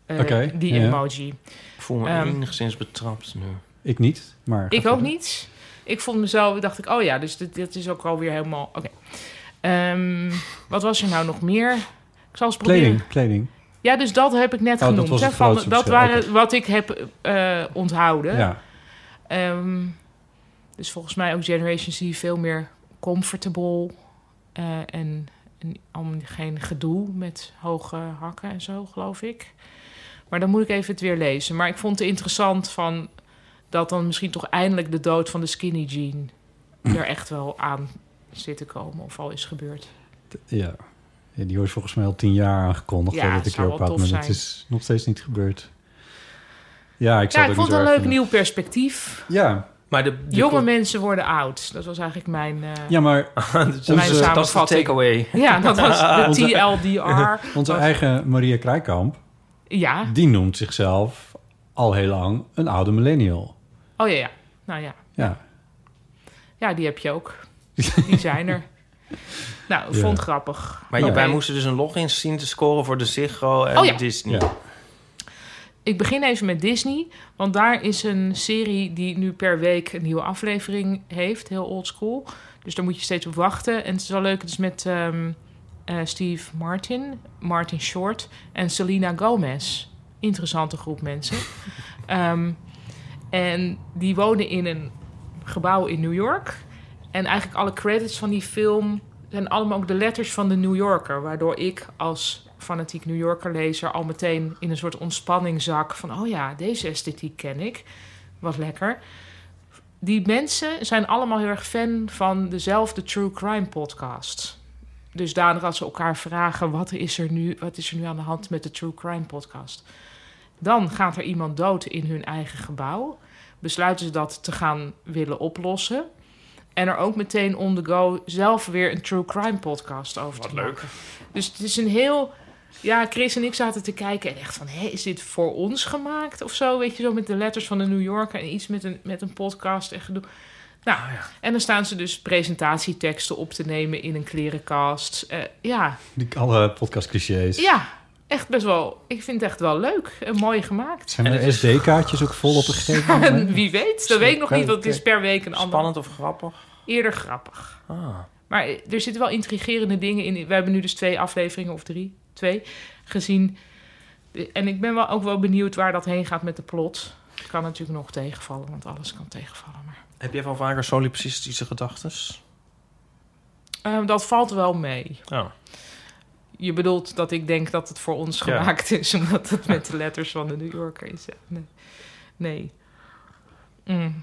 Speaker 7: Eh,
Speaker 8: Oké,
Speaker 7: die
Speaker 8: ja.
Speaker 7: emoji.
Speaker 6: Ik voel me
Speaker 7: Ehm,
Speaker 6: enigszins betrapt nu.
Speaker 8: Ik niet, maar...
Speaker 7: ik ook niet. Ik vond mezelf, dacht ik, oh ja, dus dit, dit is ook alweer helemaal. Oké. Ehm, wat was er nou nog meer? Ik zal eens proberen.
Speaker 8: Kleding, kleding.
Speaker 7: Ja, dus dat heb ik net
Speaker 8: Oh, dat
Speaker 7: genoemd.
Speaker 8: was
Speaker 7: hè,
Speaker 8: het
Speaker 7: van,
Speaker 8: grootste
Speaker 7: dat
Speaker 8: verschil,
Speaker 7: waren wat ik heb eh, onthouden.
Speaker 8: Ja.
Speaker 7: Ehm, dus volgens mij ook Generation Z veel meer comfortable eh, en, en om geen gedoe met hoge hakken en zo, geloof ik. Maar dan moet ik even het weer lezen. Maar ik vond het interessant van dat dan misschien toch eindelijk de dood van de skinny jean er echt wel aan zit te komen of al is gebeurd.
Speaker 8: Ja. Ja, die wordt volgens mij al tien jaar aangekondigd.
Speaker 7: Ja,
Speaker 8: hè,
Speaker 7: het
Speaker 8: dat ik
Speaker 7: zou
Speaker 8: erop
Speaker 7: wel
Speaker 8: had,
Speaker 7: tof
Speaker 8: maar het
Speaker 7: zijn.
Speaker 8: is nog steeds niet gebeurd. Ja,
Speaker 7: ja,
Speaker 8: ik, zou
Speaker 7: ik vond het
Speaker 8: het
Speaker 7: een
Speaker 8: ook
Speaker 7: leuk
Speaker 8: niet zo erg
Speaker 7: nieuw perspectief.
Speaker 8: vinden. Ja,
Speaker 6: Maar de, de
Speaker 7: Jonge
Speaker 6: cult-
Speaker 7: mensen worden oud. Dat was eigenlijk mijn. eh,
Speaker 8: ja, maar...
Speaker 7: Mijn samenvatting.
Speaker 6: [laughs] Dus, eh, dat is de takeaway.
Speaker 7: Ja, dat was de
Speaker 8: Onze-
Speaker 7: TLDR.
Speaker 8: Onze
Speaker 7: was-
Speaker 8: eigen Maria Krijkamp,
Speaker 7: Ja.
Speaker 8: die noemt zichzelf al heel lang een oude millennial.
Speaker 7: Oh ja, ja. Nou ja.
Speaker 8: Ja.
Speaker 7: Ja, die heb je
Speaker 8: [laughs]
Speaker 7: ook. Die zijn er. Nou, ik
Speaker 6: Ja.
Speaker 7: vond het [laughs] grappig.
Speaker 6: Maar
Speaker 7: Oké.
Speaker 6: wij moesten dus een login zien te scoren voor de Ziggo en
Speaker 7: Oh ja.
Speaker 6: Disney.
Speaker 8: Ja.
Speaker 7: Ik begin even met Disney, want daar is een serie die nu per week een nieuwe aflevering heeft, heel old school. Dus daar moet je steeds op wachten. En het is wel leuk, het is met ehm, eh, Steve Martin, Martin Short en Selena Gomez. Interessante groep mensen. Ehm, en die wonen in een gebouw in New York. En eigenlijk alle credits van die film zijn allemaal ook de letters van de New Yorker. Waardoor ik als fanatiek New Yorker lezer al meteen in een soort ontspanning zak. Van oh ja, deze esthetiek ken ik. Wat lekker. Die mensen zijn allemaal heel erg fan van dezelfde True Crime podcast. Dus daardoor als ze elkaar vragen: wat is er nu, wat is er nu aan de hand met de True Crime podcast? Dan gaat er iemand dood in hun eigen gebouw. Besluiten ze dat te gaan willen oplossen. En er ook meteen on the go zelf weer een true crime podcast over te maken. Dus het is een heel... Ja, Chris en ik zaten te kijken en echt van... Hé, is dit voor ons gemaakt of zo? Weet je, zo met de letters van de New Yorker... en iets met een, met een podcast en gedoe. Nou, en dan staan ze dus presentatieteksten op te nemen in een klerenkast. Eh, ja,
Speaker 8: Die, alle podcastclichés.
Speaker 7: ja, echt best wel... Ik vind het echt wel leuk en mooi gemaakt.
Speaker 8: Zijn
Speaker 7: En
Speaker 8: er
Speaker 7: het is-
Speaker 8: SD-kaartjes ook vol op een gegeven moment?
Speaker 7: Wie weet, dat weet ik nog niet, want het is per week een ander.
Speaker 6: Spannend of grappig?
Speaker 7: Eerder grappig.
Speaker 6: Ah.
Speaker 7: Maar eh, er zitten wel intrigerende dingen in. We hebben nu dus twee afleveringen of drie, twee, gezien. De- En ik ben wel ook wel benieuwd waar dat heen gaat met de plot. Het kan natuurlijk nog tegenvallen, want alles kan tegenvallen. Maar,
Speaker 6: Heb jij van vaker solipsistische gedachten?
Speaker 7: Ehm, dat valt wel mee.
Speaker 6: Oh.
Speaker 7: Je bedoelt dat ik denk dat het voor ons
Speaker 6: Ja.
Speaker 7: gemaakt is, [laughs] omdat het met de letters van de New Yorker is. Nee. nee. Mm.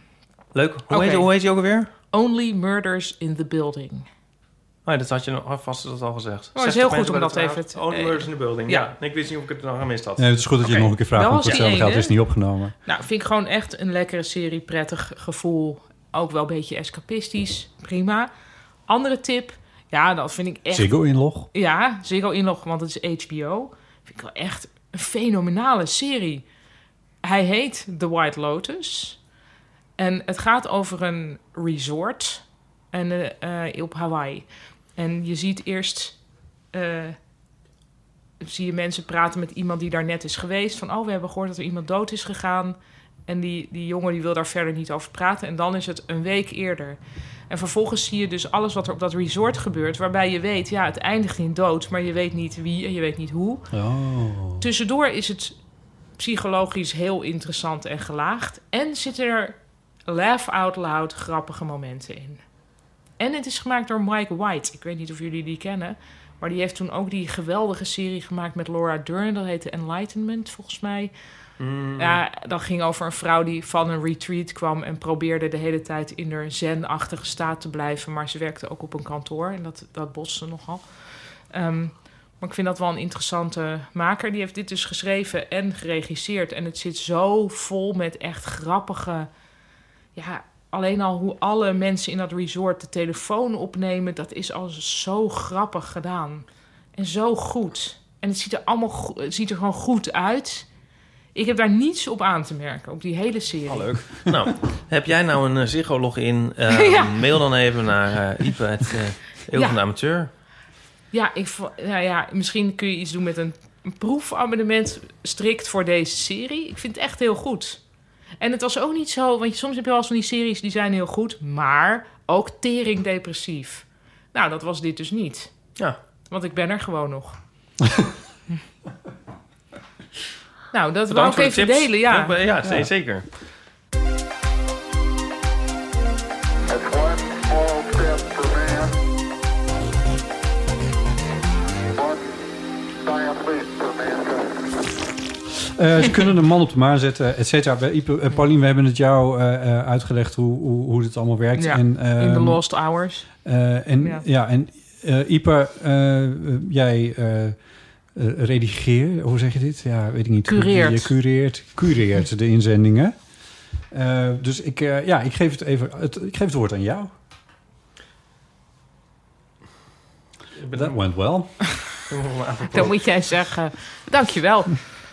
Speaker 6: Leuk. Hoe,
Speaker 7: Oké.
Speaker 6: heet, hoe heet die ook alweer?
Speaker 7: Only murders in the building.
Speaker 6: Oh, ja, dat had je nog, vast dat al gezegd.
Speaker 7: Maar het Oh, is
Speaker 6: 60
Speaker 7: heel goed
Speaker 6: mensen
Speaker 7: om
Speaker 6: bij
Speaker 7: dat
Speaker 6: de
Speaker 7: even
Speaker 6: avond.
Speaker 7: te-
Speaker 6: Oh, the Murders in the Building.
Speaker 7: Ja.
Speaker 6: Ja. Ik wist niet of ik het nog gemist had.
Speaker 8: Nee, het is goed dat je het nog een keer vraagt,
Speaker 7: Dat
Speaker 8: want
Speaker 7: was
Speaker 8: voor
Speaker 7: die
Speaker 8: hetzelfde geld
Speaker 7: ene.
Speaker 8: is het niet opgenomen.
Speaker 7: Nou, vind ik gewoon echt een lekkere serie. Prettig gevoel. Ook wel een beetje escapistisch. Prima. Andere tip. Ja, dat vind ik echt...
Speaker 8: Ziggo-inlog.
Speaker 7: Ja, Ziggo inlog, want het is HBO. Vind ik wel echt een fenomenale serie. Hij heet The White Lotus. En het gaat over een resort en, eh, eh, op Hawaii. En je ziet eerst... eh, zie je mensen praten met iemand die daar net is geweest. Van, oh, we hebben gehoord dat er iemand dood is gegaan. En die, die jongen die wil daar verder niet over praten. En dan is het een week eerder. En vervolgens zie je dus alles wat er op dat resort gebeurt. Waarbij je weet, ja, het eindigt in dood. Maar je weet niet wie en je weet niet hoe.
Speaker 8: Oh.
Speaker 7: Tussendoor is het psychologisch heel interessant en gelaagd. En zitten er laugh out loud grappige momenten in. En het is gemaakt door Mike White. Ik weet niet of jullie die kennen. Maar die heeft toen ook die geweldige serie gemaakt met Laura Dern. Dat heette Enlightenment, volgens mij. Ja, dat ging over een vrouw die van een retreat kwam en probeerde de hele tijd in haar zen-achtige staat te blijven. Maar ze werkte ook op een kantoor en dat, dat botste nogal. Ehm, maar ik vind dat wel een interessante maker. Die heeft dit dus geschreven en geregisseerd. En het zit zo vol met echt grappige. Ja, alleen al hoe alle mensen in dat resort de telefoon opnemen, dat is al zo grappig gedaan. En zo goed. En het ziet er allemaal go- het ziet er gewoon goed uit. Ik heb daar niets op aan te merken, op die hele serie.
Speaker 6: leuk. [laughs] nou, heb jij nou een eh,
Speaker 7: [laughs]
Speaker 6: Ziggo-login? Eh,
Speaker 7: Ja.
Speaker 6: Mail dan even naar eh Ipe, het eh, Eeuw van
Speaker 7: Ja.
Speaker 6: de Amateur.
Speaker 7: Ja, ik, vo- nou ja, misschien kun je iets doen met een, een proefabonnement strikt voor deze serie. Ik vind het echt heel goed. En het was ook niet zo, want je- soms heb je wel eens van die series die zijn heel goed, maar ook tering depressief. Nou, dat was dit dus niet.
Speaker 6: Ja.
Speaker 7: Want ik ben er gewoon
Speaker 6: [laughs]
Speaker 7: nog. nou, dat wil
Speaker 6: Bedankt
Speaker 7: ik
Speaker 6: voor de
Speaker 7: even
Speaker 6: tips.
Speaker 7: delen, ja.
Speaker 6: Ja, ja, ze- zeker.
Speaker 8: Eh, ze kunnen een man op de maan zetten, et cetera. Bij Ipe- eh, Paulien, we hebben het jou eh, eh, uitgelegd hoe, hoe, hoe dit allemaal werkt.
Speaker 7: Ja,
Speaker 8: en,
Speaker 7: in de
Speaker 8: ehm,
Speaker 7: Lost Hours.
Speaker 8: eh, en,
Speaker 7: Ja.
Speaker 8: ja. en eh Ipe, eh, eh, jij eh, eh, redigeer, hoe zeg je dit? Ja, weet ik niet.
Speaker 7: Cureert.
Speaker 8: Je cureert, cureert de inzendingen. Eh, dus ik, eh, ja, ik geef het even, het, ik geef het woord aan jou. That went well.
Speaker 7: Dan moet jij zeggen, dankjewel.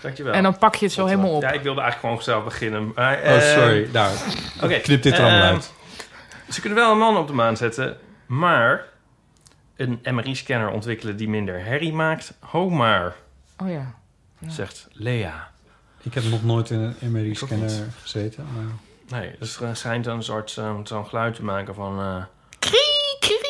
Speaker 6: Dankjewel.
Speaker 7: En dan pak je het zo helemaal op.
Speaker 6: Ja, ik wilde eigenlijk gewoon zelf beginnen. maar,
Speaker 8: Oh,
Speaker 6: eh,
Speaker 8: sorry. Nou,
Speaker 6: oké,
Speaker 8: knip dit er allemaal
Speaker 6: eh,
Speaker 8: uit.
Speaker 6: Ze kunnen wel een man op de maan zetten, maar een MRI-scanner ontwikkelen die minder herrie maakt. Ho maar,
Speaker 7: Oh ja.
Speaker 6: zegt Lea.
Speaker 8: Ik heb nog nooit in een
Speaker 6: Ik ook
Speaker 8: MRI-scanner gezeten. Maar...
Speaker 6: Nee, dus er schijnt een soort eh, zo'n geluid te maken van... eh,
Speaker 7: Krie, krie.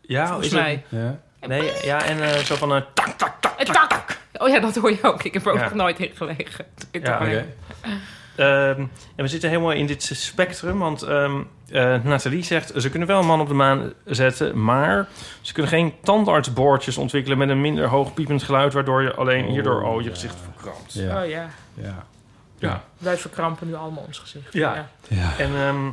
Speaker 6: ja,
Speaker 7: Volgens
Speaker 6: is het-
Speaker 7: mij.
Speaker 8: Ja.
Speaker 6: Nee, ja, en eh, zo van... eh, tak, tak,
Speaker 7: Eh, tak, tak. Oh ja, dat hoor je ook. Ik heb er ook
Speaker 6: Ja.
Speaker 7: nog nooit in gelegen. Ik
Speaker 6: Ja,
Speaker 7: dacht, nee.
Speaker 6: oké. Ehm, en we zitten helemaal in dit spectrum, want ehm eh, Nathalie zegt... ze kunnen wel een man op de maan zetten, maar ze kunnen geen tandartsboordjes ontwikkelen... met een minder hoog piepend geluid, waardoor je alleen hierdoor al je gezicht verkrampt.
Speaker 7: Ja. Oh ja.
Speaker 8: Ja.
Speaker 6: Ja.
Speaker 7: Wij verkrampen nu allemaal ons gezicht.
Speaker 6: Ja. En ehm,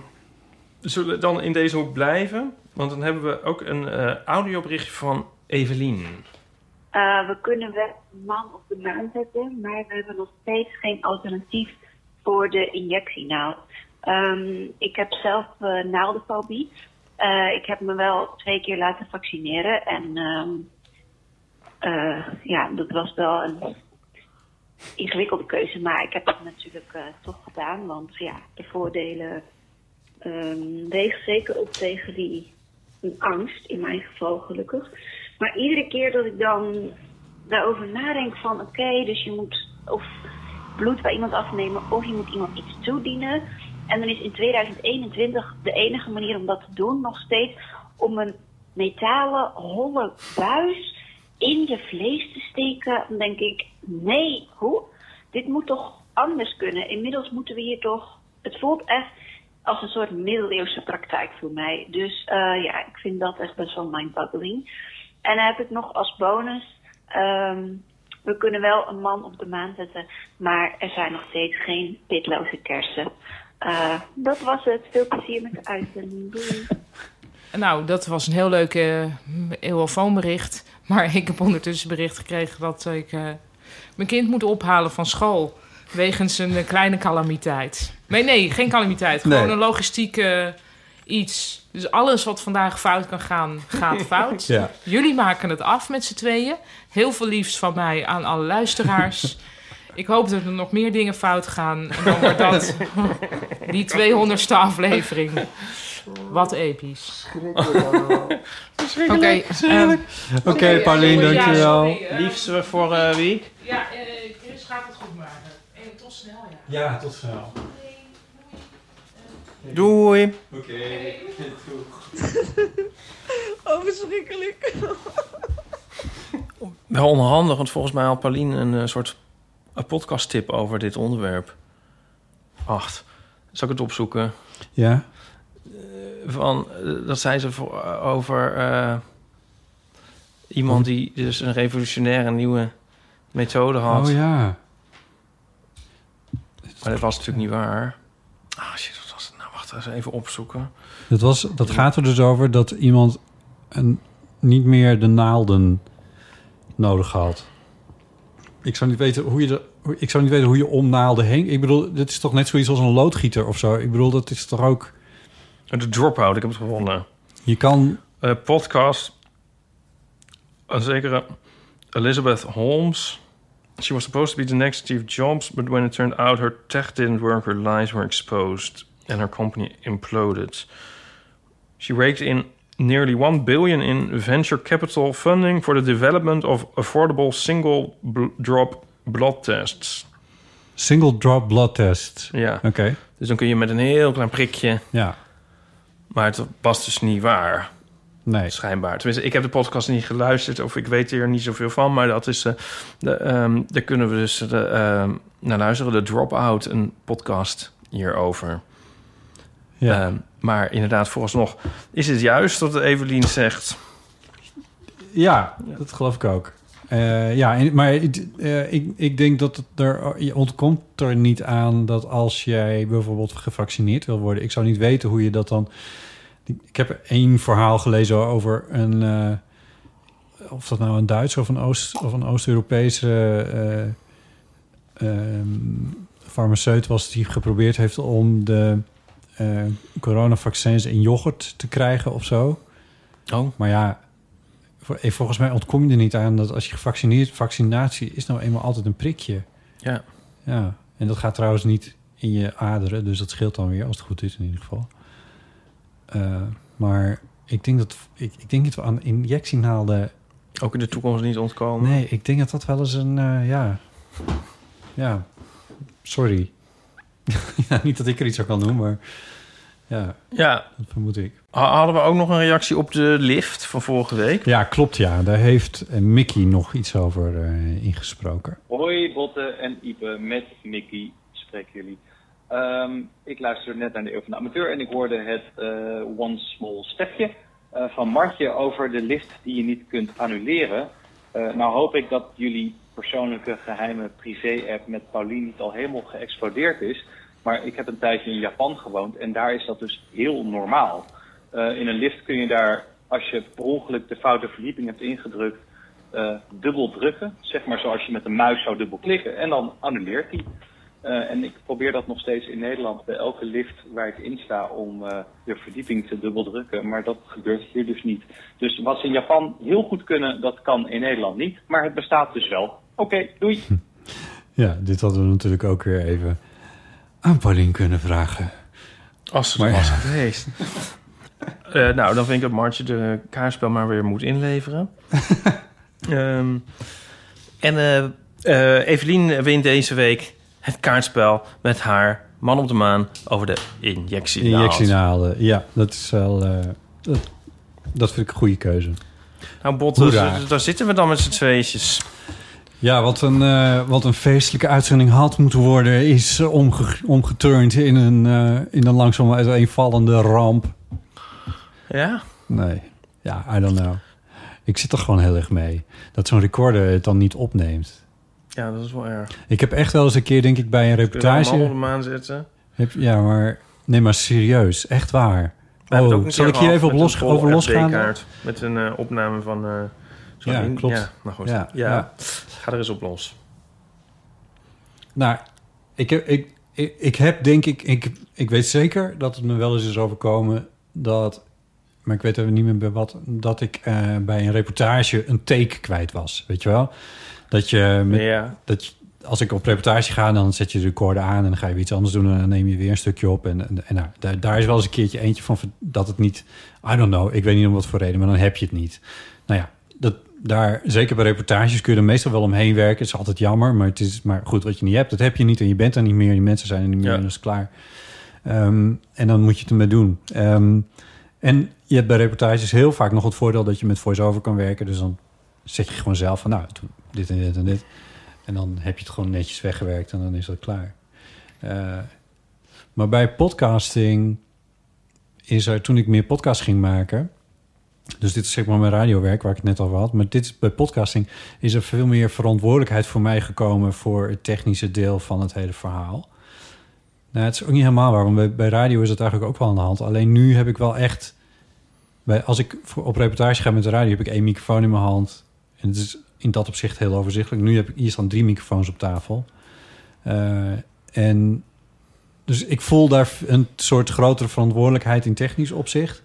Speaker 6: zullen we dan in deze hoek blijven? Want dan hebben we ook een eh audioberichtje van Evelien.
Speaker 11: Eh, we kunnen wel een man op de maan zetten, maar we hebben nog steeds geen alternatief voor de injectienaald. Ehm, ik heb zelf eh, naaldenfobie. Eh, ik heb me wel twee keer laten vaccineren en ehm, eh, ja, dat was wel een ingewikkelde keuze, maar ik heb het natuurlijk eh, toch gedaan, want ja, de voordelen ehm wegen zeker op tegen die angst, in mijn geval gelukkig. Maar iedere keer dat ik dan daarover nadenk van oké, dus je moet of bloed bij iemand afnemen of je moet iemand iets toedienen. En dan is in 2021 de enige manier om dat te doen nog steeds om een metalen holle buis in je vlees te steken. Dan denk ik, nee, hoe? Dit moet toch anders kunnen? Inmiddels moeten we hier toch... Het voelt echt als een soort middeleeuwse praktijk voor mij. Dus eh, ja, ik vind dat echt best wel mindboggling. En dan heb ik nog als bonus. ehm, we kunnen wel een man op de maan zetten, maar er zijn nog steeds geen pitloze kersen. Eh, dat was het. Veel plezier met de uitzending. Doei.
Speaker 7: Nou, dat was een heel leuk eh, eeuwofoonbericht. Maar ik heb ondertussen bericht gekregen dat ik eh, mijn kind moet ophalen van school. Wegens een eh, kleine calamiteit. Nee, nee, geen calamiteit. Gewoon
Speaker 8: Nee.
Speaker 7: een logistieke eh, iets. Dus alles wat vandaag fout kan gaan, gaat fout.
Speaker 8: Ja.
Speaker 7: Jullie maken het af met z'n tweeën. Heel veel liefst van mij aan alle luisteraars. Ik hoop dat er nog meer dingen fout gaan. En dan wordt
Speaker 6: [laughs]
Speaker 7: dat die 200ste
Speaker 11: [laughs]
Speaker 7: aflevering. Wat episch. Oké,
Speaker 6: Schrikkelijk, schrikkelijk.
Speaker 7: ehm,
Speaker 8: Oké, Paulien,
Speaker 7: sorry, ja,
Speaker 8: dankjewel.
Speaker 7: sorry, eh.
Speaker 6: Liefst eh, voor eh, wie?
Speaker 7: Ja, eh, Chris gaat het goed maken. En tot snel, ja.
Speaker 8: Ja, tot snel.
Speaker 6: Doei.
Speaker 8: Oké,
Speaker 3: Oh, verschrikkelijk.
Speaker 6: Wel onhandig, want volgens mij had Paulien een eh, soort een podcasttip over dit onderwerp. Acht. Zal ik het opzoeken?
Speaker 8: Ja.
Speaker 6: Van, eh, dat zei ze voor, over eh, iemand die dus een revolutionaire nieuwe methode had.
Speaker 8: Oh ja.
Speaker 6: Maar dat was natuurlijk niet waar. Ah shit, wat was het nou? Wacht, eens even opzoeken.
Speaker 8: Dat, was, dat gaat er dus over dat iemand een, niet meer de naalden nodig had. Ik zou niet weten hoe je, de, hoe- ik zou niet weten hoe je om naalden heen... Ik bedoel, dit is toch net zoiets als een loodgieter of zo? Ik bedoel, dat is toch ook...
Speaker 6: De Dropout, ik heb het gevonden.
Speaker 8: Je kan...
Speaker 6: Eh, podcast. Een zekere Elizabeth Holmes. She was supposed to be the next Steve Jobs, but when it turned out her tech didn't work, her lies were exposed, and her company imploded. She raked in nearly 1 billion in venture capital funding for the development of affordable single bl- drop blood tests.
Speaker 8: Single drop blood test.
Speaker 6: Ja.
Speaker 8: Oké.
Speaker 6: Dus dan kun je met een heel klein prikje.
Speaker 8: Ja.
Speaker 6: Maar het was dus niet waar.
Speaker 8: Nee.
Speaker 6: Schijnbaar. Tenminste, ik heb de podcast niet geluisterd of ik weet er niet zoveel van. Maar dat is. eh, de, ehm, daar kunnen we dus de, ehm, naar luisteren. De Dropout, een podcast hierover.
Speaker 8: Ja.
Speaker 6: Ehm, maar inderdaad, vooralsnog is het juist wat Evelien zegt.
Speaker 8: Ja, dat geloof ik ook. Eh, ja, en- maar het, eh, ik, ik denk dat het er, je ontkomt er niet aan dat als jij bijvoorbeeld gevaccineerd wil worden, ik zou niet weten hoe je dat dan. Ik heb één verhaal gelezen over een. eh, of dat nou een Duits of een, Oost, of een Oost-Europese eh, ehm, farmaceut was die geprobeerd heeft om de eh, coronavaccins in yoghurt te krijgen of zo.
Speaker 6: Oh.
Speaker 8: Maar ja, Vol- eh, Volgens mij ontkom je er niet aan dat als je gevaccineerd... vaccinatie is nou eenmaal altijd een prikje.
Speaker 6: Ja.
Speaker 8: Ja, en dat gaat trouwens niet in je aderen. Dus dat scheelt dan weer, als het goed is in ieder geval. Eh, maar ik denk dat ik, ik denk dat we aan injectienaalden...
Speaker 6: Ook in de toekomst niet ontkomen.
Speaker 8: Nee, ik denk dat dat wel eens een... eh, ja. ja, Sorry. [laughs] ja, niet dat ik er iets aan kan doen, maar ja,
Speaker 6: Ja,
Speaker 8: dat vermoed ik.
Speaker 6: Ha- hadden we ook nog een reactie op de lift van vorige week?
Speaker 8: Ja, klopt ja. Daar heeft eh, Mickey nog iets over eh, ingesproken.
Speaker 12: Hoi Botte en Ipe, met Mickey spreken jullie. Ehm, ik luisterde net naar de Eeuw van de Amateur en ik hoorde het eh, One Small Stepje eh, van Martje over de lift die je niet kunt annuleren. Eh, nou hoop ik dat jullie persoonlijke geheime privé-app met Paulien niet al helemaal geëxplodeerd is. Maar ik heb een tijdje in Japan gewoond en daar is dat dus heel normaal. Eh, in een lift kun je daar, als je per ongeluk de foute verdieping hebt ingedrukt, eh, dubbel drukken. Zeg maar zoals je met de muis zou dubbel klikken. En dan annuleert hij. Eh, en ik probeer dat nog steeds in Nederland bij elke lift waar ik in sta om eh, de verdieping te dubbel drukken. Maar dat gebeurt hier dus niet. Dus wat ze in Japan heel goed kunnen, dat kan in Nederland niet. Maar het bestaat dus wel. Oké, doei.
Speaker 8: Ja, dit hadden we natuurlijk ook weer even aan Paulien kunnen vragen.
Speaker 6: Als het
Speaker 8: Maar-
Speaker 6: was
Speaker 8: [laughs]
Speaker 6: geweest. Eh, nou, dan vind ik dat Martje de kaarspel maar weer moet
Speaker 8: [laughs]
Speaker 6: inleveren. Ehm, en eh, eh, Evelien wint deze week het kaartspel met haar man op de maan over de Nou, injectienaald.
Speaker 8: Injectienaalden. Ja, dat is wel... eh, dat, dat vind ik een goede keuze.
Speaker 6: Nou, Botte,
Speaker 8: Hoera.
Speaker 6: daar zitten we dan met z'n tweetjes.
Speaker 8: Ja, wat een, eh, wat een feestelijke uitzending had moeten worden... is eh, omge omgeturnd in een, eh, in een langzaam uiteenvallende ramp.
Speaker 6: Ja?
Speaker 8: Nee, ja, I don't know. Ik zit er gewoon heel erg mee. Dat zo'n recorder het dan niet opneemt.
Speaker 6: Ja, dat is wel erg.
Speaker 8: Ik heb echt wel eens een keer, denk ik, bij een
Speaker 6: Kun je daar een man op
Speaker 8: reportage...
Speaker 6: de maan zetten?
Speaker 8: Heb, ja, maar... Nee, maar serieus. Echt waar.
Speaker 6: We hebben het ook
Speaker 8: Oh,
Speaker 6: een
Speaker 8: zal
Speaker 6: keer
Speaker 8: ik hier
Speaker 6: gehad
Speaker 8: even op
Speaker 6: met
Speaker 8: los,
Speaker 6: een volle
Speaker 8: over losgaan?
Speaker 6: SD-kaart Met een eh, opname van... eh, zo'n
Speaker 8: Ja,
Speaker 6: in-
Speaker 8: klopt.
Speaker 6: Ja, nou goed.
Speaker 8: Ja,
Speaker 6: Ja.
Speaker 8: ja.
Speaker 6: Ga er eens op los.
Speaker 8: Nou, ik heb, ik, ik, ik heb denk ik, ik... Ik weet zeker dat het me wel eens is overkomen dat... Maar ik weet even niet meer bij wat... Dat ik eh, bij een reportage een take kwijt was. Weet je wel? Dat je... Met,
Speaker 6: Ja.
Speaker 8: dat je- als ik op reportage ga, dan zet je de recorder aan... en dan ga je weer iets anders doen en dan neem je weer een stukje op. En, en, en nou, daar, daar is wel eens een keertje eentje van ver- dat het niet... I don't know, ik weet niet om wat voor reden, maar dan heb je het niet. Nou ja, dat, daar, zeker bij reportages kun je er meestal wel omheen werken. Het is altijd jammer, maar, het is, maar goed, wat je niet hebt, dat heb je niet. En je bent er niet meer, die mensen zijn er niet meer en dat is klaar. Ehm, en dan moet je het ermee doen. Ehm, en je hebt bij reportages heel vaak nog het voordeel dat je met voice-over kan werken. Dus dan zet je gewoon zelf van, nou, toen dit en dit en dit. En dan heb je het gewoon netjes weggewerkt en dan is dat klaar. Eh, maar bij podcasting is er, toen ik meer podcast ging maken... Dus dit is zeg maar mijn radiowerk waar ik het net over had. Maar dit is, bij podcasting is er veel meer verantwoordelijkheid voor mij gekomen... voor het technische deel van het hele verhaal. Nou, het is ook niet helemaal waar, want bij, bij radio is dat eigenlijk ook wel aan de hand. Alleen nu heb ik wel echt... Bij, als ik voor- op reportage ga met de radio, heb ik één microfoon in mijn hand. En het is in dat opzicht heel overzichtelijk. Nu heb ik hier staan drie microfoons op tafel. Eh, en dus ik voel daar een soort grotere verantwoordelijkheid in technisch opzicht.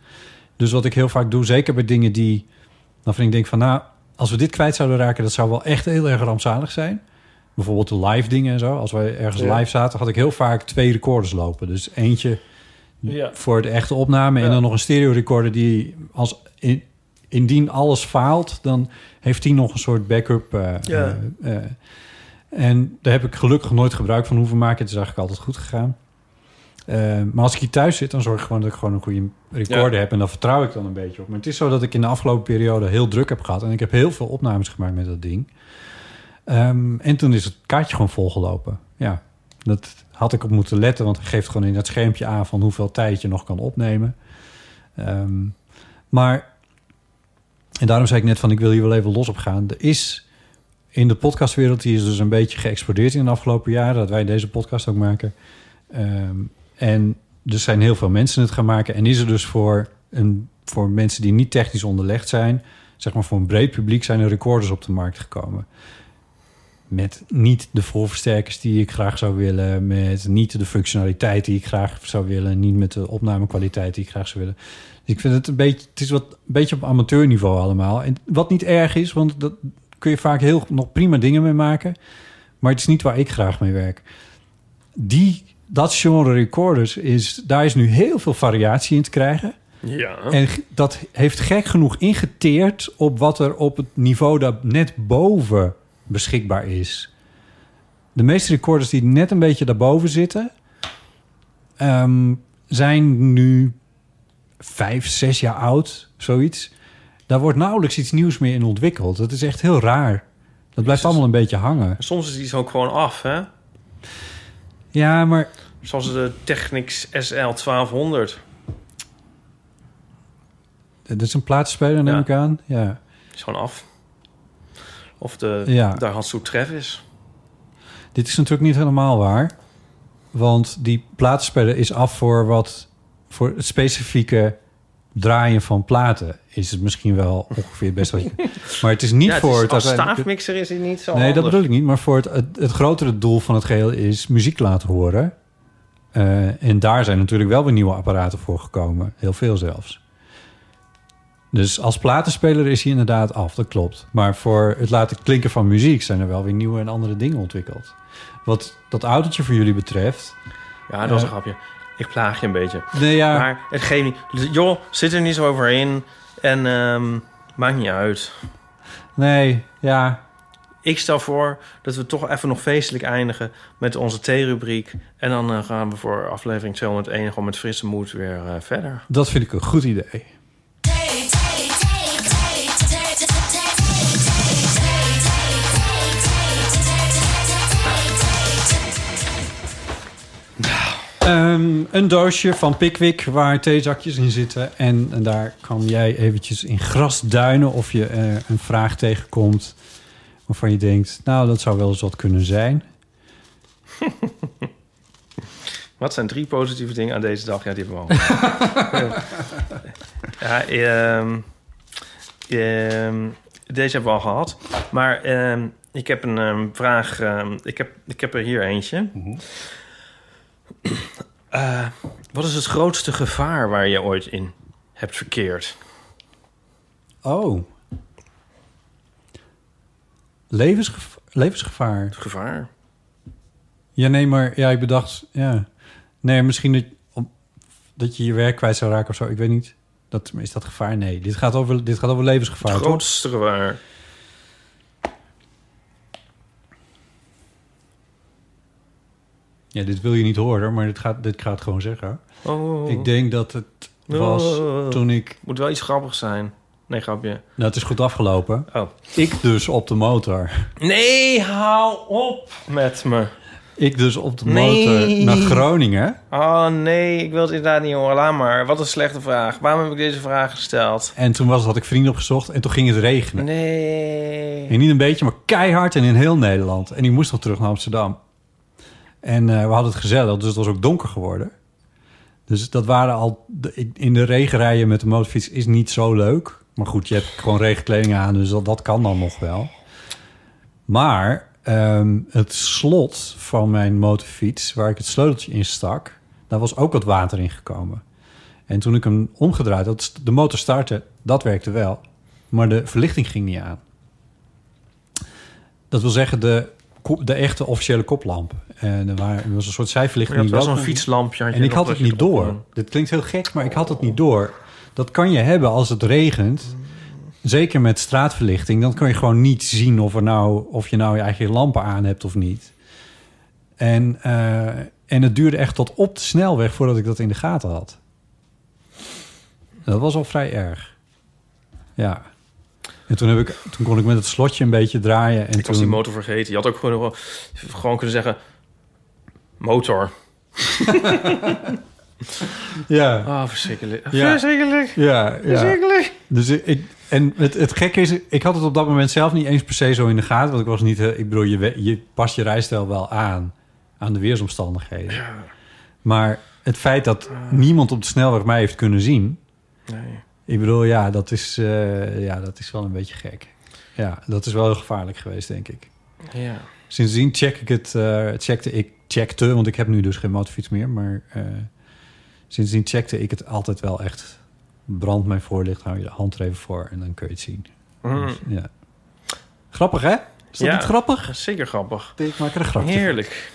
Speaker 8: Dus wat ik heel vaak doe, zeker bij dingen die... Dan vind ik denk van, nou, als we dit kwijt zouden raken... dat zou wel echt heel erg rampzalig zijn. Bijvoorbeeld de live dingen en zo. Als wij ergens
Speaker 6: Ja.
Speaker 8: live zaten, had ik heel vaak twee recorders lopen. Dus eentje
Speaker 6: Ja.
Speaker 8: voor de echte opname... en dan nog een stereo recorder die... Als in, indien alles faalt, dan heeft die nog een soort backup... eh,
Speaker 6: Ja.
Speaker 8: eh, eh. en daar heb ik gelukkig nooit gebruik van hoeven maken. Het is eigenlijk altijd goed gegaan. Eh, maar als ik hier thuis zit, dan zorg ik gewoon dat ik gewoon een goede recorder
Speaker 6: Ja.
Speaker 8: heb. En daar vertrouw ik dan een beetje op. Maar het is zo dat ik in de afgelopen periode heel druk heb gehad. En ik heb heel veel opnames gemaakt met dat ding. Ehm, en toen is het kaartje gewoon volgelopen. Ja, dat had ik op moeten letten. Want het geeft gewoon in dat schermpje aan van hoeveel tijd je nog kan opnemen. Ehm, maar, en daarom zei ik net van ik wil hier wel even los op gaan. Er is in de podcastwereld, die is dus een beetje geëxplodeerd in de afgelopen jaren, dat wij deze podcast ook maken. Ehm, en er zijn heel veel mensen het gaan maken. En is er dus voor, een, voor mensen die niet technisch onderlegd zijn, zeg maar voor een breed publiek, zijn er recorders op de markt gekomen. Met niet de voorversterkers die ik graag zou willen. Met niet de functionaliteit die ik graag zou willen. Niet met de opnamekwaliteit die ik graag zou willen. Dus ik vind het een beetje... Het is wat, een beetje op amateurniveau allemaal. En wat niet erg is, want dat kun je vaak heel nog prima dingen mee maken. Maar het is niet waar ik graag mee werk. Die, dat genre recorders, is, daar is nu heel veel variatie in te krijgen.
Speaker 6: Ja.
Speaker 8: En g- dat heeft gek genoeg ingeteerd op wat er op het niveau dat net boven beschikbaar is. De meeste recorders die net een beetje daarboven zitten, ehm, zijn nu vijf, zes jaar oud, zoiets. Daar wordt nauwelijks iets nieuws meer in ontwikkeld. Dat is echt heel raar. Dat blijft allemaal een beetje hangen.
Speaker 6: Soms is iets ook gewoon af, hè?
Speaker 8: Ja, maar eh,
Speaker 6: Zoals de Technics SL 1200.
Speaker 8: dit is een plaatsspeler, neem ik aan. Ja.
Speaker 6: Is gewoon af. Of de
Speaker 8: Ja.
Speaker 6: daar Hatsu Travis.
Speaker 8: Dit is natuurlijk niet helemaal waar. Want die plaatsspeler is af voor wat voor het specifieke draaien van platen is het misschien wel ongeveer best wat je. Maar het is niet
Speaker 6: Ja, het
Speaker 8: voor
Speaker 6: is-
Speaker 8: het
Speaker 6: als
Speaker 8: uiteindelijk-
Speaker 6: staafmixer is het niet zo
Speaker 8: Nee, dat
Speaker 6: handig.
Speaker 8: bedoel ik niet. Maar voor het, het, het grotere doel van het geheel is muziek laten horen. Eh, en daar zijn natuurlijk wel weer nieuwe apparaten voor gekomen. Heel veel zelfs. Dus als platenspeler is hij inderdaad af, dat klopt. Maar voor het laten klinken van muziek zijn er wel weer nieuwe en andere dingen ontwikkeld. Wat dat autootje voor jullie betreft.
Speaker 6: Ja, dat was
Speaker 8: eh,
Speaker 6: een grapje. Ik plaag je een beetje.
Speaker 8: Nee, ja.
Speaker 6: Maar het geeft niet... dus, Joh, zit er niet zo overheen. En ehm, maakt niet uit.
Speaker 8: Nee, ja.
Speaker 6: Ik stel voor dat we toch even nog feestelijk eindigen met onze theerubriek. En dan eh, gaan we voor aflevering 201 gewoon met frisse moed weer eh, verder.
Speaker 8: Dat vind ik een goed idee. Ehm, een doosje van Pickwick waar theezakjes in zitten. En, en daar kan jij eventjes in gras duinen of je eh, een vraag tegenkomt... waarvan je denkt, nou, dat zou wel eens wat kunnen zijn.
Speaker 6: Wat zijn drie positieve dingen aan deze dag? Ja, die hebben we al. ja, ehm, ehm, deze hebben we al gehad. Maar ehm, ik heb een ehm, vraag. ehm, ik, heb, ik heb er hier eentje. Eh, wat is het grootste gevaar waar je ooit in hebt verkeerd?
Speaker 8: Oh. Levensgev- levensgevaar.
Speaker 6: Gevaar?
Speaker 8: Ja, nee, maar ja, ik bedacht... Ja. Nee, misschien dat, om- dat je je werk kwijt zou raken of zo. Ik weet niet. Dat, is dat gevaar? Nee. Dit gaat over, dit gaat over levensgevaar,
Speaker 6: Het
Speaker 8: toch?
Speaker 6: grootste gevaar.
Speaker 8: Ja, dit wil je niet horen, maar dit, gaat, dit gaat gewoon zeggen.
Speaker 6: Oh.
Speaker 8: Ik denk dat het was
Speaker 6: Oh.
Speaker 8: toen ik...
Speaker 6: Moet wel iets grappigs zijn. Nee, grapje.
Speaker 8: Nou, het is goed afgelopen.
Speaker 6: Oh.
Speaker 8: Ik dus op de motor.
Speaker 6: Nee, hou op met me.
Speaker 8: Ik dus op de motor
Speaker 6: Nee.
Speaker 8: naar Groningen.
Speaker 6: Oh nee, ik wil het inderdaad niet horen. Laat maar. Wat een slechte vraag. Waarom heb ik deze vraag gesteld?
Speaker 8: En toen was, het- had ik vrienden opgezocht en toen ging het
Speaker 6: Hm.
Speaker 8: regenen.
Speaker 6: Nee.
Speaker 8: En niet een beetje, maar keihard en in heel Nederland. En ik moest nog terug naar Amsterdam. En eh, we hadden het gezellig, dus het was ook donker geworden. Dus dat waren al... de- In de regen rijden met de motorfiets is niet zo leuk. Maar goed, je hebt gewoon regenkleding aan, dus dat, dat kan dan nog wel. Maar ehm, het slot van mijn motorfiets, waar ik het sleuteltje in stak... daar was ook wat water in gekomen. En toen ik hem omgedraaid had, de motor startte, dat werkte wel. Maar de verlichting ging niet aan. Dat wil zeggen, de, ko- de echte officiële koplamp. En er waren- er was een soort zijverlichting.
Speaker 6: Ja, het
Speaker 8: die
Speaker 6: was
Speaker 8: wel-
Speaker 6: zo'n fietslampje, had je
Speaker 8: En ik
Speaker 6: nog
Speaker 8: had
Speaker 6: dat
Speaker 8: het
Speaker 6: je
Speaker 8: niet
Speaker 6: erop
Speaker 8: door.
Speaker 6: kon.
Speaker 8: Dit klinkt heel gek, maar ik had het niet door. Dat kan je hebben als het regent. Zeker met straatverlichting. Dan kan je gewoon niet zien of, er nou, of je nou je eigen lampen aan hebt of niet. En, eh, en het duurde echt tot op de snelweg voordat ik dat in de gaten had. Dat was al vrij erg. Ja. En toen, heb ik, toen kon ik met het slotje een beetje draaien. En
Speaker 6: ik
Speaker 8: toen,
Speaker 6: was die motor vergeten. Je had ook gewoon, gewoon kunnen zeggen... Motor.
Speaker 8: Ja.
Speaker 6: Oh, verschrikkelijk.
Speaker 8: Ja.
Speaker 6: Verschrikkelijk.
Speaker 8: Ja, ja.
Speaker 6: Verschrikkelijk.
Speaker 8: Dus ik, ik- en het, het gekke is, ik had het op dat moment zelf niet eens per se zo in de gaten. Want ik was niet, eh, ik bedoel, je, we- je past je rijstijl wel aan, aan de weersomstandigheden. Maar het feit dat niemand op de snelweg mij heeft kunnen zien.
Speaker 6: Nee.
Speaker 8: Ik bedoel, ja, dat is, eh, ja, dat is wel een beetje gek. Ja, dat is wel heel gevaarlijk geweest, denk ik.
Speaker 6: Ja.
Speaker 8: Sindsdien check ik het, eh, checkte ik, checkte, want ik heb nu dus geen motorfiets meer, maar eh, sindsdien checkte ik het altijd wel echt. Brand mijn voorlicht, hou je de hand er even voor en dan kun je het zien.
Speaker 6: Mm.
Speaker 8: Dus, ja. Grappig, hè? Is dat
Speaker 6: Ja,
Speaker 8: niet grappig?
Speaker 6: Zeker grappig.
Speaker 8: Ik maak er een grapje van.
Speaker 6: Heerlijk.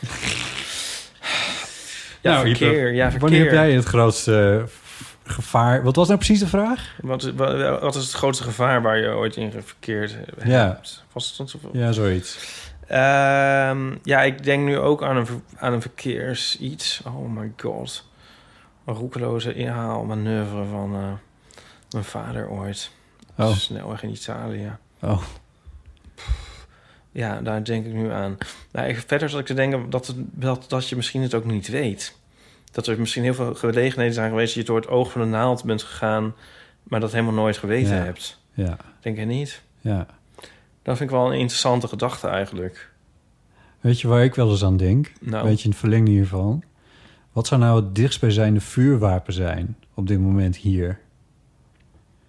Speaker 6: ja,
Speaker 8: Nou, Ipe,
Speaker 6: verkeer. Ja, verkeer.
Speaker 8: Wanneer heb jij het grootste eh, gevaar... Wat was nou precies de vraag?
Speaker 6: Wat, is- wa- wat is het grootste gevaar waar je ooit in verkeerd hebt?
Speaker 8: Ja.
Speaker 6: Was het dan zoveel?
Speaker 8: Ja, zoiets.
Speaker 6: Ehm, ja, ik denk nu ook aan een, ver- aan een verkeers iets. Oh my god. Een roekeloze inhaalmanoeuvre van eh, mijn vader ooit.
Speaker 8: Oh.
Speaker 6: Snelweg in Italië.
Speaker 8: Oh.
Speaker 6: Ja, daar denk ik nu aan. Nou, ik- verder zat ik te denken dat, het- dat, dat je misschien het ook niet weet. Dat er misschien heel veel gelegenheden zijn geweest... dat je door het oog van de naald bent gegaan... maar dat helemaal nooit geweten
Speaker 8: Ja.
Speaker 6: hebt.
Speaker 8: Ja.
Speaker 6: Denk je niet?
Speaker 8: Ja.
Speaker 6: Dat vind ik wel een interessante gedachte eigenlijk.
Speaker 8: Weet je waar ik wel eens aan denk?
Speaker 6: Nou.
Speaker 8: Weet je, in het verlengde hiervan. Wat zou nou het dichtstbijzijnde vuurwapen zijn op dit moment hier?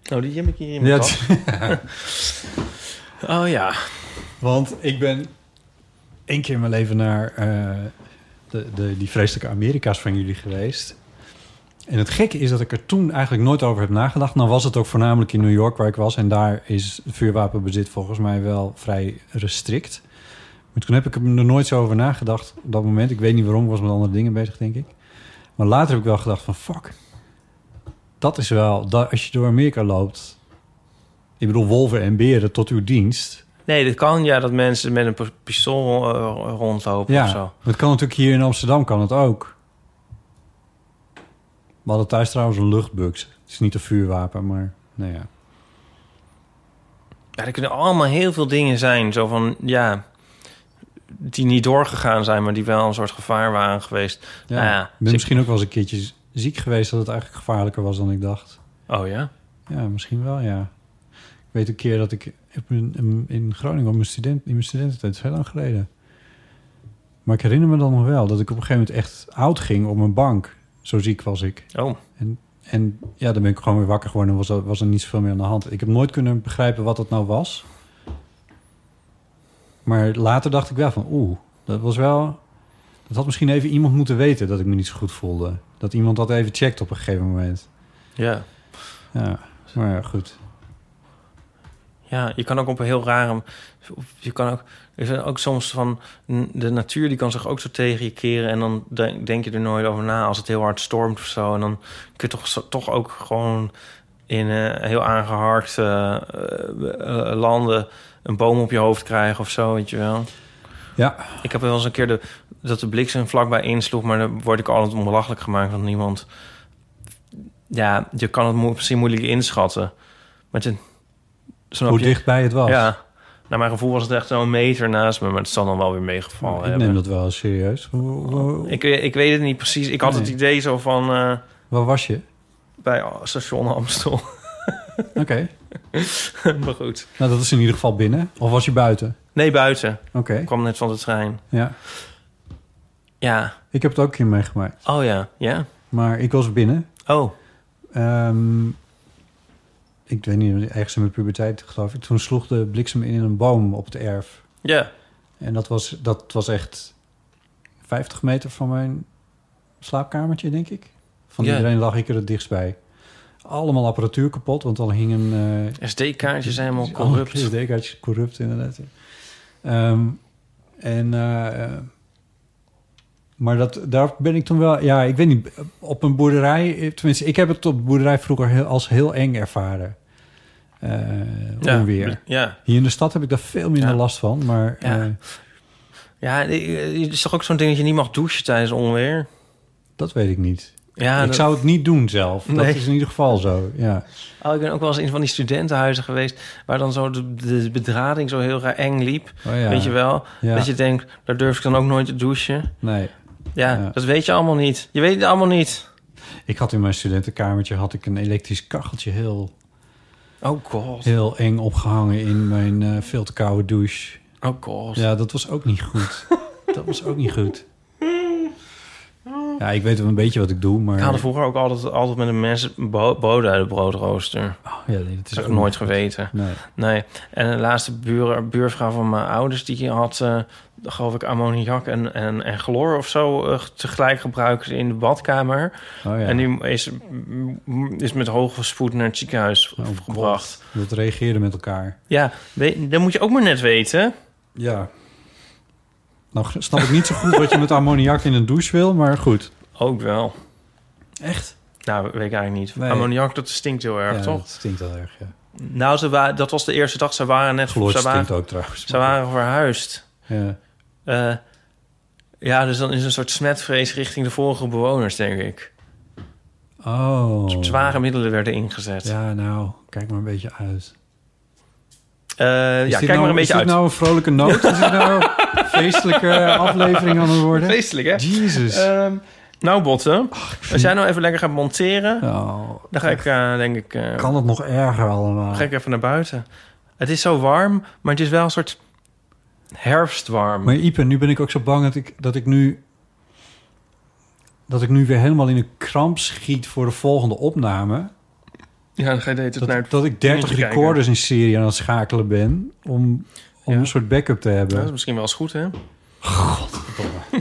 Speaker 6: Nou, die heb ik hier in mijn
Speaker 8: Ja,
Speaker 6: tas. oh ja.
Speaker 8: Want ik ben één keer in mijn leven naar eh, de, de, die vreselijke Amerika's van jullie geweest. En het gekke is dat ik er toen eigenlijk nooit over heb nagedacht. Nou was het ook voornamelijk in New York waar ik was. En daar is vuurwapenbezit volgens mij wel vrij restrict. Maar toen heb ik er nooit zo over nagedacht op dat moment. Ik weet niet waarom, ik was met andere dingen bezig, denk ik. Maar later heb ik wel gedacht van fuck. Dat is wel, dat, als je door Amerika loopt... Ik bedoel, wolven en beren tot uw dienst...
Speaker 6: Nee, dat kan ja dat mensen met een p- pistool eh, rondlopen
Speaker 8: Ja,
Speaker 6: of zo.
Speaker 8: dat kan natuurlijk hier in Amsterdam kan het ook. We hadden thuis trouwens een luchtbux. Het is niet een vuurwapen, maar nou ja.
Speaker 6: Ja, er kunnen allemaal heel veel dingen zijn. Zo van, ja, die niet doorgegaan zijn, maar die wel een soort gevaar waren geweest.
Speaker 8: ja.
Speaker 6: Nou
Speaker 8: ik ben misschien ook wel eens een keertje z- ziek geweest dat het eigenlijk gevaarlijker was dan ik dacht.
Speaker 6: Oh ja?
Speaker 8: Ja, misschien wel, ja. Ik weet een keer dat ik op een- in Groningen op mijn student, in mijn studententijd, dat is heel lang geleden. Maar ik herinner me dan nog wel dat ik op een gegeven moment echt oud ging op mijn bank. Zo ziek was ik.
Speaker 6: Oh.
Speaker 8: En, en ja, dan ben ik gewoon weer wakker geworden en was, er- was er niet zoveel meer aan de hand. Ik heb nooit kunnen begrijpen wat dat nou was. Maar later dacht ik wel van, oeh, dat was wel... Dat had misschien even iemand moeten weten dat ik me niet zo goed voelde. Dat iemand dat even checkt op een gegeven moment.
Speaker 6: Ja.
Speaker 8: Ja, maar ja, goed.
Speaker 6: Ja, je kan ook op een heel rare... Je kan ook, er zijn ook soms van... De natuur die kan zich ook zo tegen je keren... en dan de- denk je er nooit over na als het heel hard stormt of zo. En dan kun je toch, zo- toch ook gewoon in eh, heel aangeharkte eh, eh, landen... een boom op je hoofd krijgen of zo, weet je wel.
Speaker 8: Ja.
Speaker 6: Ik heb wel eens een keer de, dat de bliksem vlakbij insloeg... maar dan word ik altijd onbelachelijk gemaakt van niemand. Ja, je kan het mo- misschien moeilijk inschatten. Met een, snap
Speaker 8: Hoe
Speaker 6: je?
Speaker 8: dichtbij het was.
Speaker 6: Ja. Naar mijn gevoel was het echt zo'n meter naast me, maar het zal dan wel weer meegevallen
Speaker 8: ik
Speaker 6: hebben.
Speaker 8: neem dat wel serieus. Hoe- hoe-
Speaker 6: Ik, eh, ik weet het niet precies. Ik had
Speaker 8: Nee.
Speaker 6: het idee zo van eh,
Speaker 8: Waar was je?
Speaker 6: bij station Amstel. [laughs]
Speaker 8: Oké.
Speaker 6: maar goed.
Speaker 8: Nou, dat is in ieder geval binnen. Of was je buiten?
Speaker 6: Nee, buiten.
Speaker 8: Oké.
Speaker 6: Ik kwam net van de trein.
Speaker 8: Ja.
Speaker 6: Ja.
Speaker 8: Ik heb het ook een keer meegemaakt.
Speaker 6: Oh ja. Ja.
Speaker 8: Maar ik was binnen.
Speaker 6: Oh.
Speaker 8: Ehm, ik weet niet, ergens in mijn puberteit geloof ik. Toen sloeg de bliksem in een boom op het erf.
Speaker 6: Ja.
Speaker 8: En dat was, dat was echt 50 meter van mijn slaapkamertje, denk ik. Van
Speaker 6: Ja.
Speaker 8: iedereen lag ik er het dichtst bij. Allemaal apparatuur kapot, want dan hing een... eh,
Speaker 6: SD-kaartjes zijn helemaal
Speaker 8: Oh,
Speaker 6: corrupt.
Speaker 8: SD-kaartjes corrupt, inderdaad. Ehm, en... eh, eh, maar dat, daar ben ik toen wel... Ja, ik weet niet, op een boerderij... eh, Tenminste, ik heb het op de boerderij vroeger heel, als heel eng ervaren. Eh
Speaker 6: Ja,
Speaker 8: onweer.
Speaker 6: ja.
Speaker 8: Hier in de stad heb ik daar veel minder last van, maar...
Speaker 6: Ja.
Speaker 8: eh,
Speaker 6: Ja, eh, het is toch ook zo'n ding dat je niet mag douchen tijdens onweer?
Speaker 8: Dat weet ik niet.
Speaker 6: Ja,
Speaker 8: ik
Speaker 6: dat-
Speaker 8: zou het niet doen zelf.
Speaker 6: Nee.
Speaker 8: Dat is in ieder geval zo. Ja.
Speaker 6: Oh, ik ben ook wel eens in van die studentenhuizen geweest... waar dan zo de, de bedrading zo heel raar eng liep.
Speaker 8: Oh ja.
Speaker 6: Weet je wel?
Speaker 8: Ja.
Speaker 6: Dat je denkt, daar durf ik dan ook nooit te douchen.
Speaker 8: Nee.
Speaker 6: Ja, dat weet je allemaal niet. Je weet het allemaal niet.
Speaker 8: Ik had in mijn studentenkamertje had ik een elektrisch kacheltje heel,
Speaker 6: Oh god.
Speaker 8: heel eng opgehangen in mijn eh, veel te koude douche.
Speaker 6: Oh god.
Speaker 8: Ja, dat was ook niet
Speaker 6: [laughs]
Speaker 8: goed. dat was ook niet goed. Ja, ik weet wel een beetje wat ik doe, maar...
Speaker 6: Ik haalde vroeger ook altijd, altijd met een mes bo- boden uit de broodrooster.
Speaker 8: Oh, ja, nee, dat is
Speaker 6: heb
Speaker 8: ook
Speaker 6: ik nooit
Speaker 8: niet goed.
Speaker 6: geweten.
Speaker 8: Nee.
Speaker 6: En de laatste buur, buurvrouw van mijn ouders... die had, eh, geloof ik, ammoniak en, en, en chloor of zo... eh, tegelijk gebruikt in de badkamer.
Speaker 8: Oh ja.
Speaker 6: En die is, is met hoge spoed naar het ziekenhuis gebracht.
Speaker 8: Oh, Dat reageerde met elkaar.
Speaker 6: Ja, we- dat moet je ook maar net weten.
Speaker 8: Ja. Nou snap ik niet zo goed wat je met ammoniak in een douche wil, maar goed.
Speaker 6: Ook wel.
Speaker 8: Echt?
Speaker 6: Nou, weet ik eigenlijk niet.
Speaker 8: Nee.
Speaker 6: Ammoniak, dat stinkt heel erg,
Speaker 8: Ja,
Speaker 6: toch?
Speaker 8: dat stinkt heel erg, ja.
Speaker 6: Nou, ze wa- dat was de eerste dag. Ze waren net...
Speaker 8: Chloor
Speaker 6: ze waren,
Speaker 8: stinkt ook trouwens.
Speaker 6: Ze waren verhuisd.
Speaker 8: Ja.
Speaker 6: Eh, ja, dus dan is een soort smetvrees richting de vorige bewoners, denk ik.
Speaker 8: Oh.
Speaker 6: Zware middelen werden ingezet.
Speaker 8: Ja, nou, kijk maar een beetje uit. Is
Speaker 6: Eh, ja,
Speaker 8: dit
Speaker 6: kijk
Speaker 8: nou-
Speaker 6: maar een beetje
Speaker 8: Is
Speaker 6: uit.
Speaker 8: dit nou een vrolijke noot? Is dit
Speaker 6: [laughs]
Speaker 8: nou een feestelijke aflevering aan het worden?
Speaker 6: Feestelijk, hè?
Speaker 8: nou- Jezus.
Speaker 6: Ehm, nou, botten. Als jij nou even lekker gaat monteren... dan ga ik, eh, denk ik... eh,
Speaker 8: Oh, Kan het nog erger allemaal?
Speaker 6: ga ik even naar buiten. Het is zo warm, maar het is wel een soort herfstwarm.
Speaker 8: Maar Ipe, nu ben ik ook zo bang dat ik, dat ik nu... dat ik nu weer helemaal in een kramp schiet voor de volgende opname.
Speaker 6: Ja, dan ga je de hele tijd
Speaker 8: Dat,
Speaker 6: naar het
Speaker 8: dat ik 30
Speaker 6: dingetje kijken.
Speaker 8: recorders in serie aan het schakelen ben... om, om een soort backup te
Speaker 6: Ja,
Speaker 8: hebben.
Speaker 6: dat is misschien wel eens goed, hè?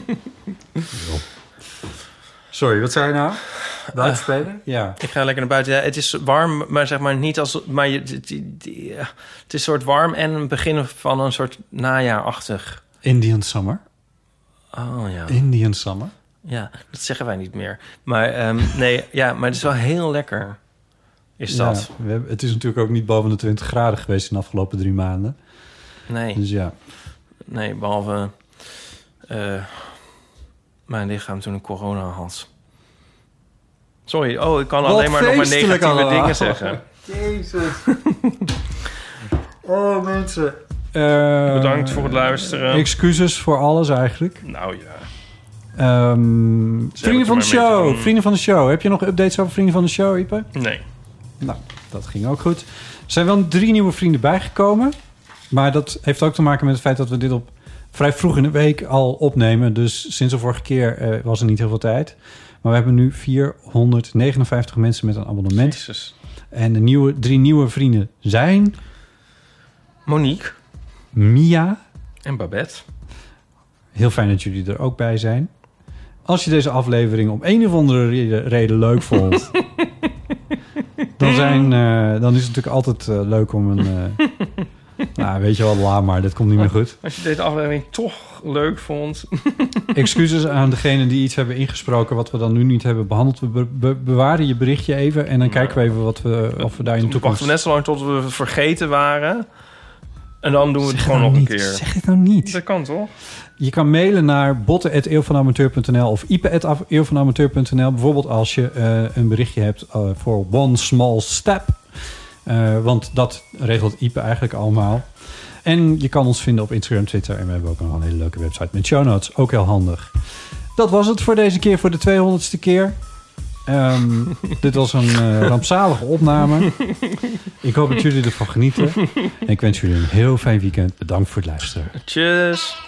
Speaker 8: [laughs] Sorry, wat zei je nou?
Speaker 6: Buiten
Speaker 8: spelen? Ja.
Speaker 6: Ik ga lekker naar buiten. Ja, het is warm, maar zeg maar niet als... Maar je, die- die- die- ja. het is soort warm en een begin van een soort najaarachtig.
Speaker 8: Indian Summer.
Speaker 6: Oh ja.
Speaker 8: Indian Summer.
Speaker 6: Ja, dat zeggen wij niet meer. Maar ehm, nee, ja, maar het is wel heel lekker. Is
Speaker 8: Ja,
Speaker 6: dat?
Speaker 8: we hebben, het is natuurlijk ook niet boven de 20 graden geweest in de afgelopen drie maanden.
Speaker 6: Nee.
Speaker 8: Dus ja.
Speaker 6: Nee, behalve eh, mijn lichaam toen ik corona had. Sorry, oh, ik kan
Speaker 8: Wat
Speaker 6: alleen maar nog maar
Speaker 8: feestelijk
Speaker 6: negatieve
Speaker 8: allemaal.
Speaker 6: dingen zeggen.
Speaker 8: [laughs] Jezus. oh, mensen. Eh,
Speaker 6: Bedankt voor het luisteren.
Speaker 8: Excuses voor alles eigenlijk.
Speaker 6: Nou ja.
Speaker 8: Ehm, vrienden van de
Speaker 6: maar mee te
Speaker 8: show.
Speaker 6: doen.
Speaker 8: Vrienden van de show. Heb je nog updates over vrienden van de show, Ipe?
Speaker 6: Nee.
Speaker 8: Nou, dat ging ook goed. Er zijn wel drie nieuwe vrienden bijgekomen. Maar dat heeft ook te maken met het feit dat we dit op vrij vroeg in de week al opnemen. Dus sinds de vorige keer eh, was er niet heel veel tijd. Maar we hebben nu 459 mensen met een abonnement. En de nieuwe, drie nieuwe vrienden zijn...
Speaker 6: Monique.
Speaker 8: Mia.
Speaker 6: En Babette.
Speaker 8: Heel fijn dat jullie er ook bij zijn. Als je deze aflevering om een of andere reden- reden leuk
Speaker 6: [laughs]
Speaker 8: vond... dan, zijn, eh, dan is het natuurlijk altijd eh, leuk om een... eh,
Speaker 6: [laughs]
Speaker 8: nou, weet je wel, laat maar. Dit komt niet meer goed.
Speaker 6: Als je deze aflevering toch leuk vond.
Speaker 8: Excuses aan degenen die iets hebben ingesproken... wat we dan nu niet hebben behandeld. We be- be- bewaren je berichtje even... en dan kijken we even wat we, of we daar in de toekomst...
Speaker 6: Wachten we net zo lang tot we het vergeten waren. En dan doen we het gewoon nog
Speaker 8: nou
Speaker 6: een
Speaker 8: niet.
Speaker 6: keer.
Speaker 8: Zeg dit nou niet.
Speaker 6: Dat kan toch?
Speaker 8: Je kan mailen naar botten.eeuwvanamateur.nl of ipe.eeuwvanamateur.nl. Bijvoorbeeld als je eh, een berichtje hebt eh, voor One Small Step. Eh, want dat regelt Ipe eigenlijk allemaal. En je kan ons vinden op Instagram, Twitter. En we hebben ook nog een hele leuke website met show notes. Ook heel handig. Dat was het voor deze keer, voor de 200ste keer. Ehm, [laughs] dit was een eh, rampzalige opname. Ik hoop dat jullie ervan genieten. En ik wens jullie een heel fijn weekend. Bedankt voor het luisteren.
Speaker 6: Tjus.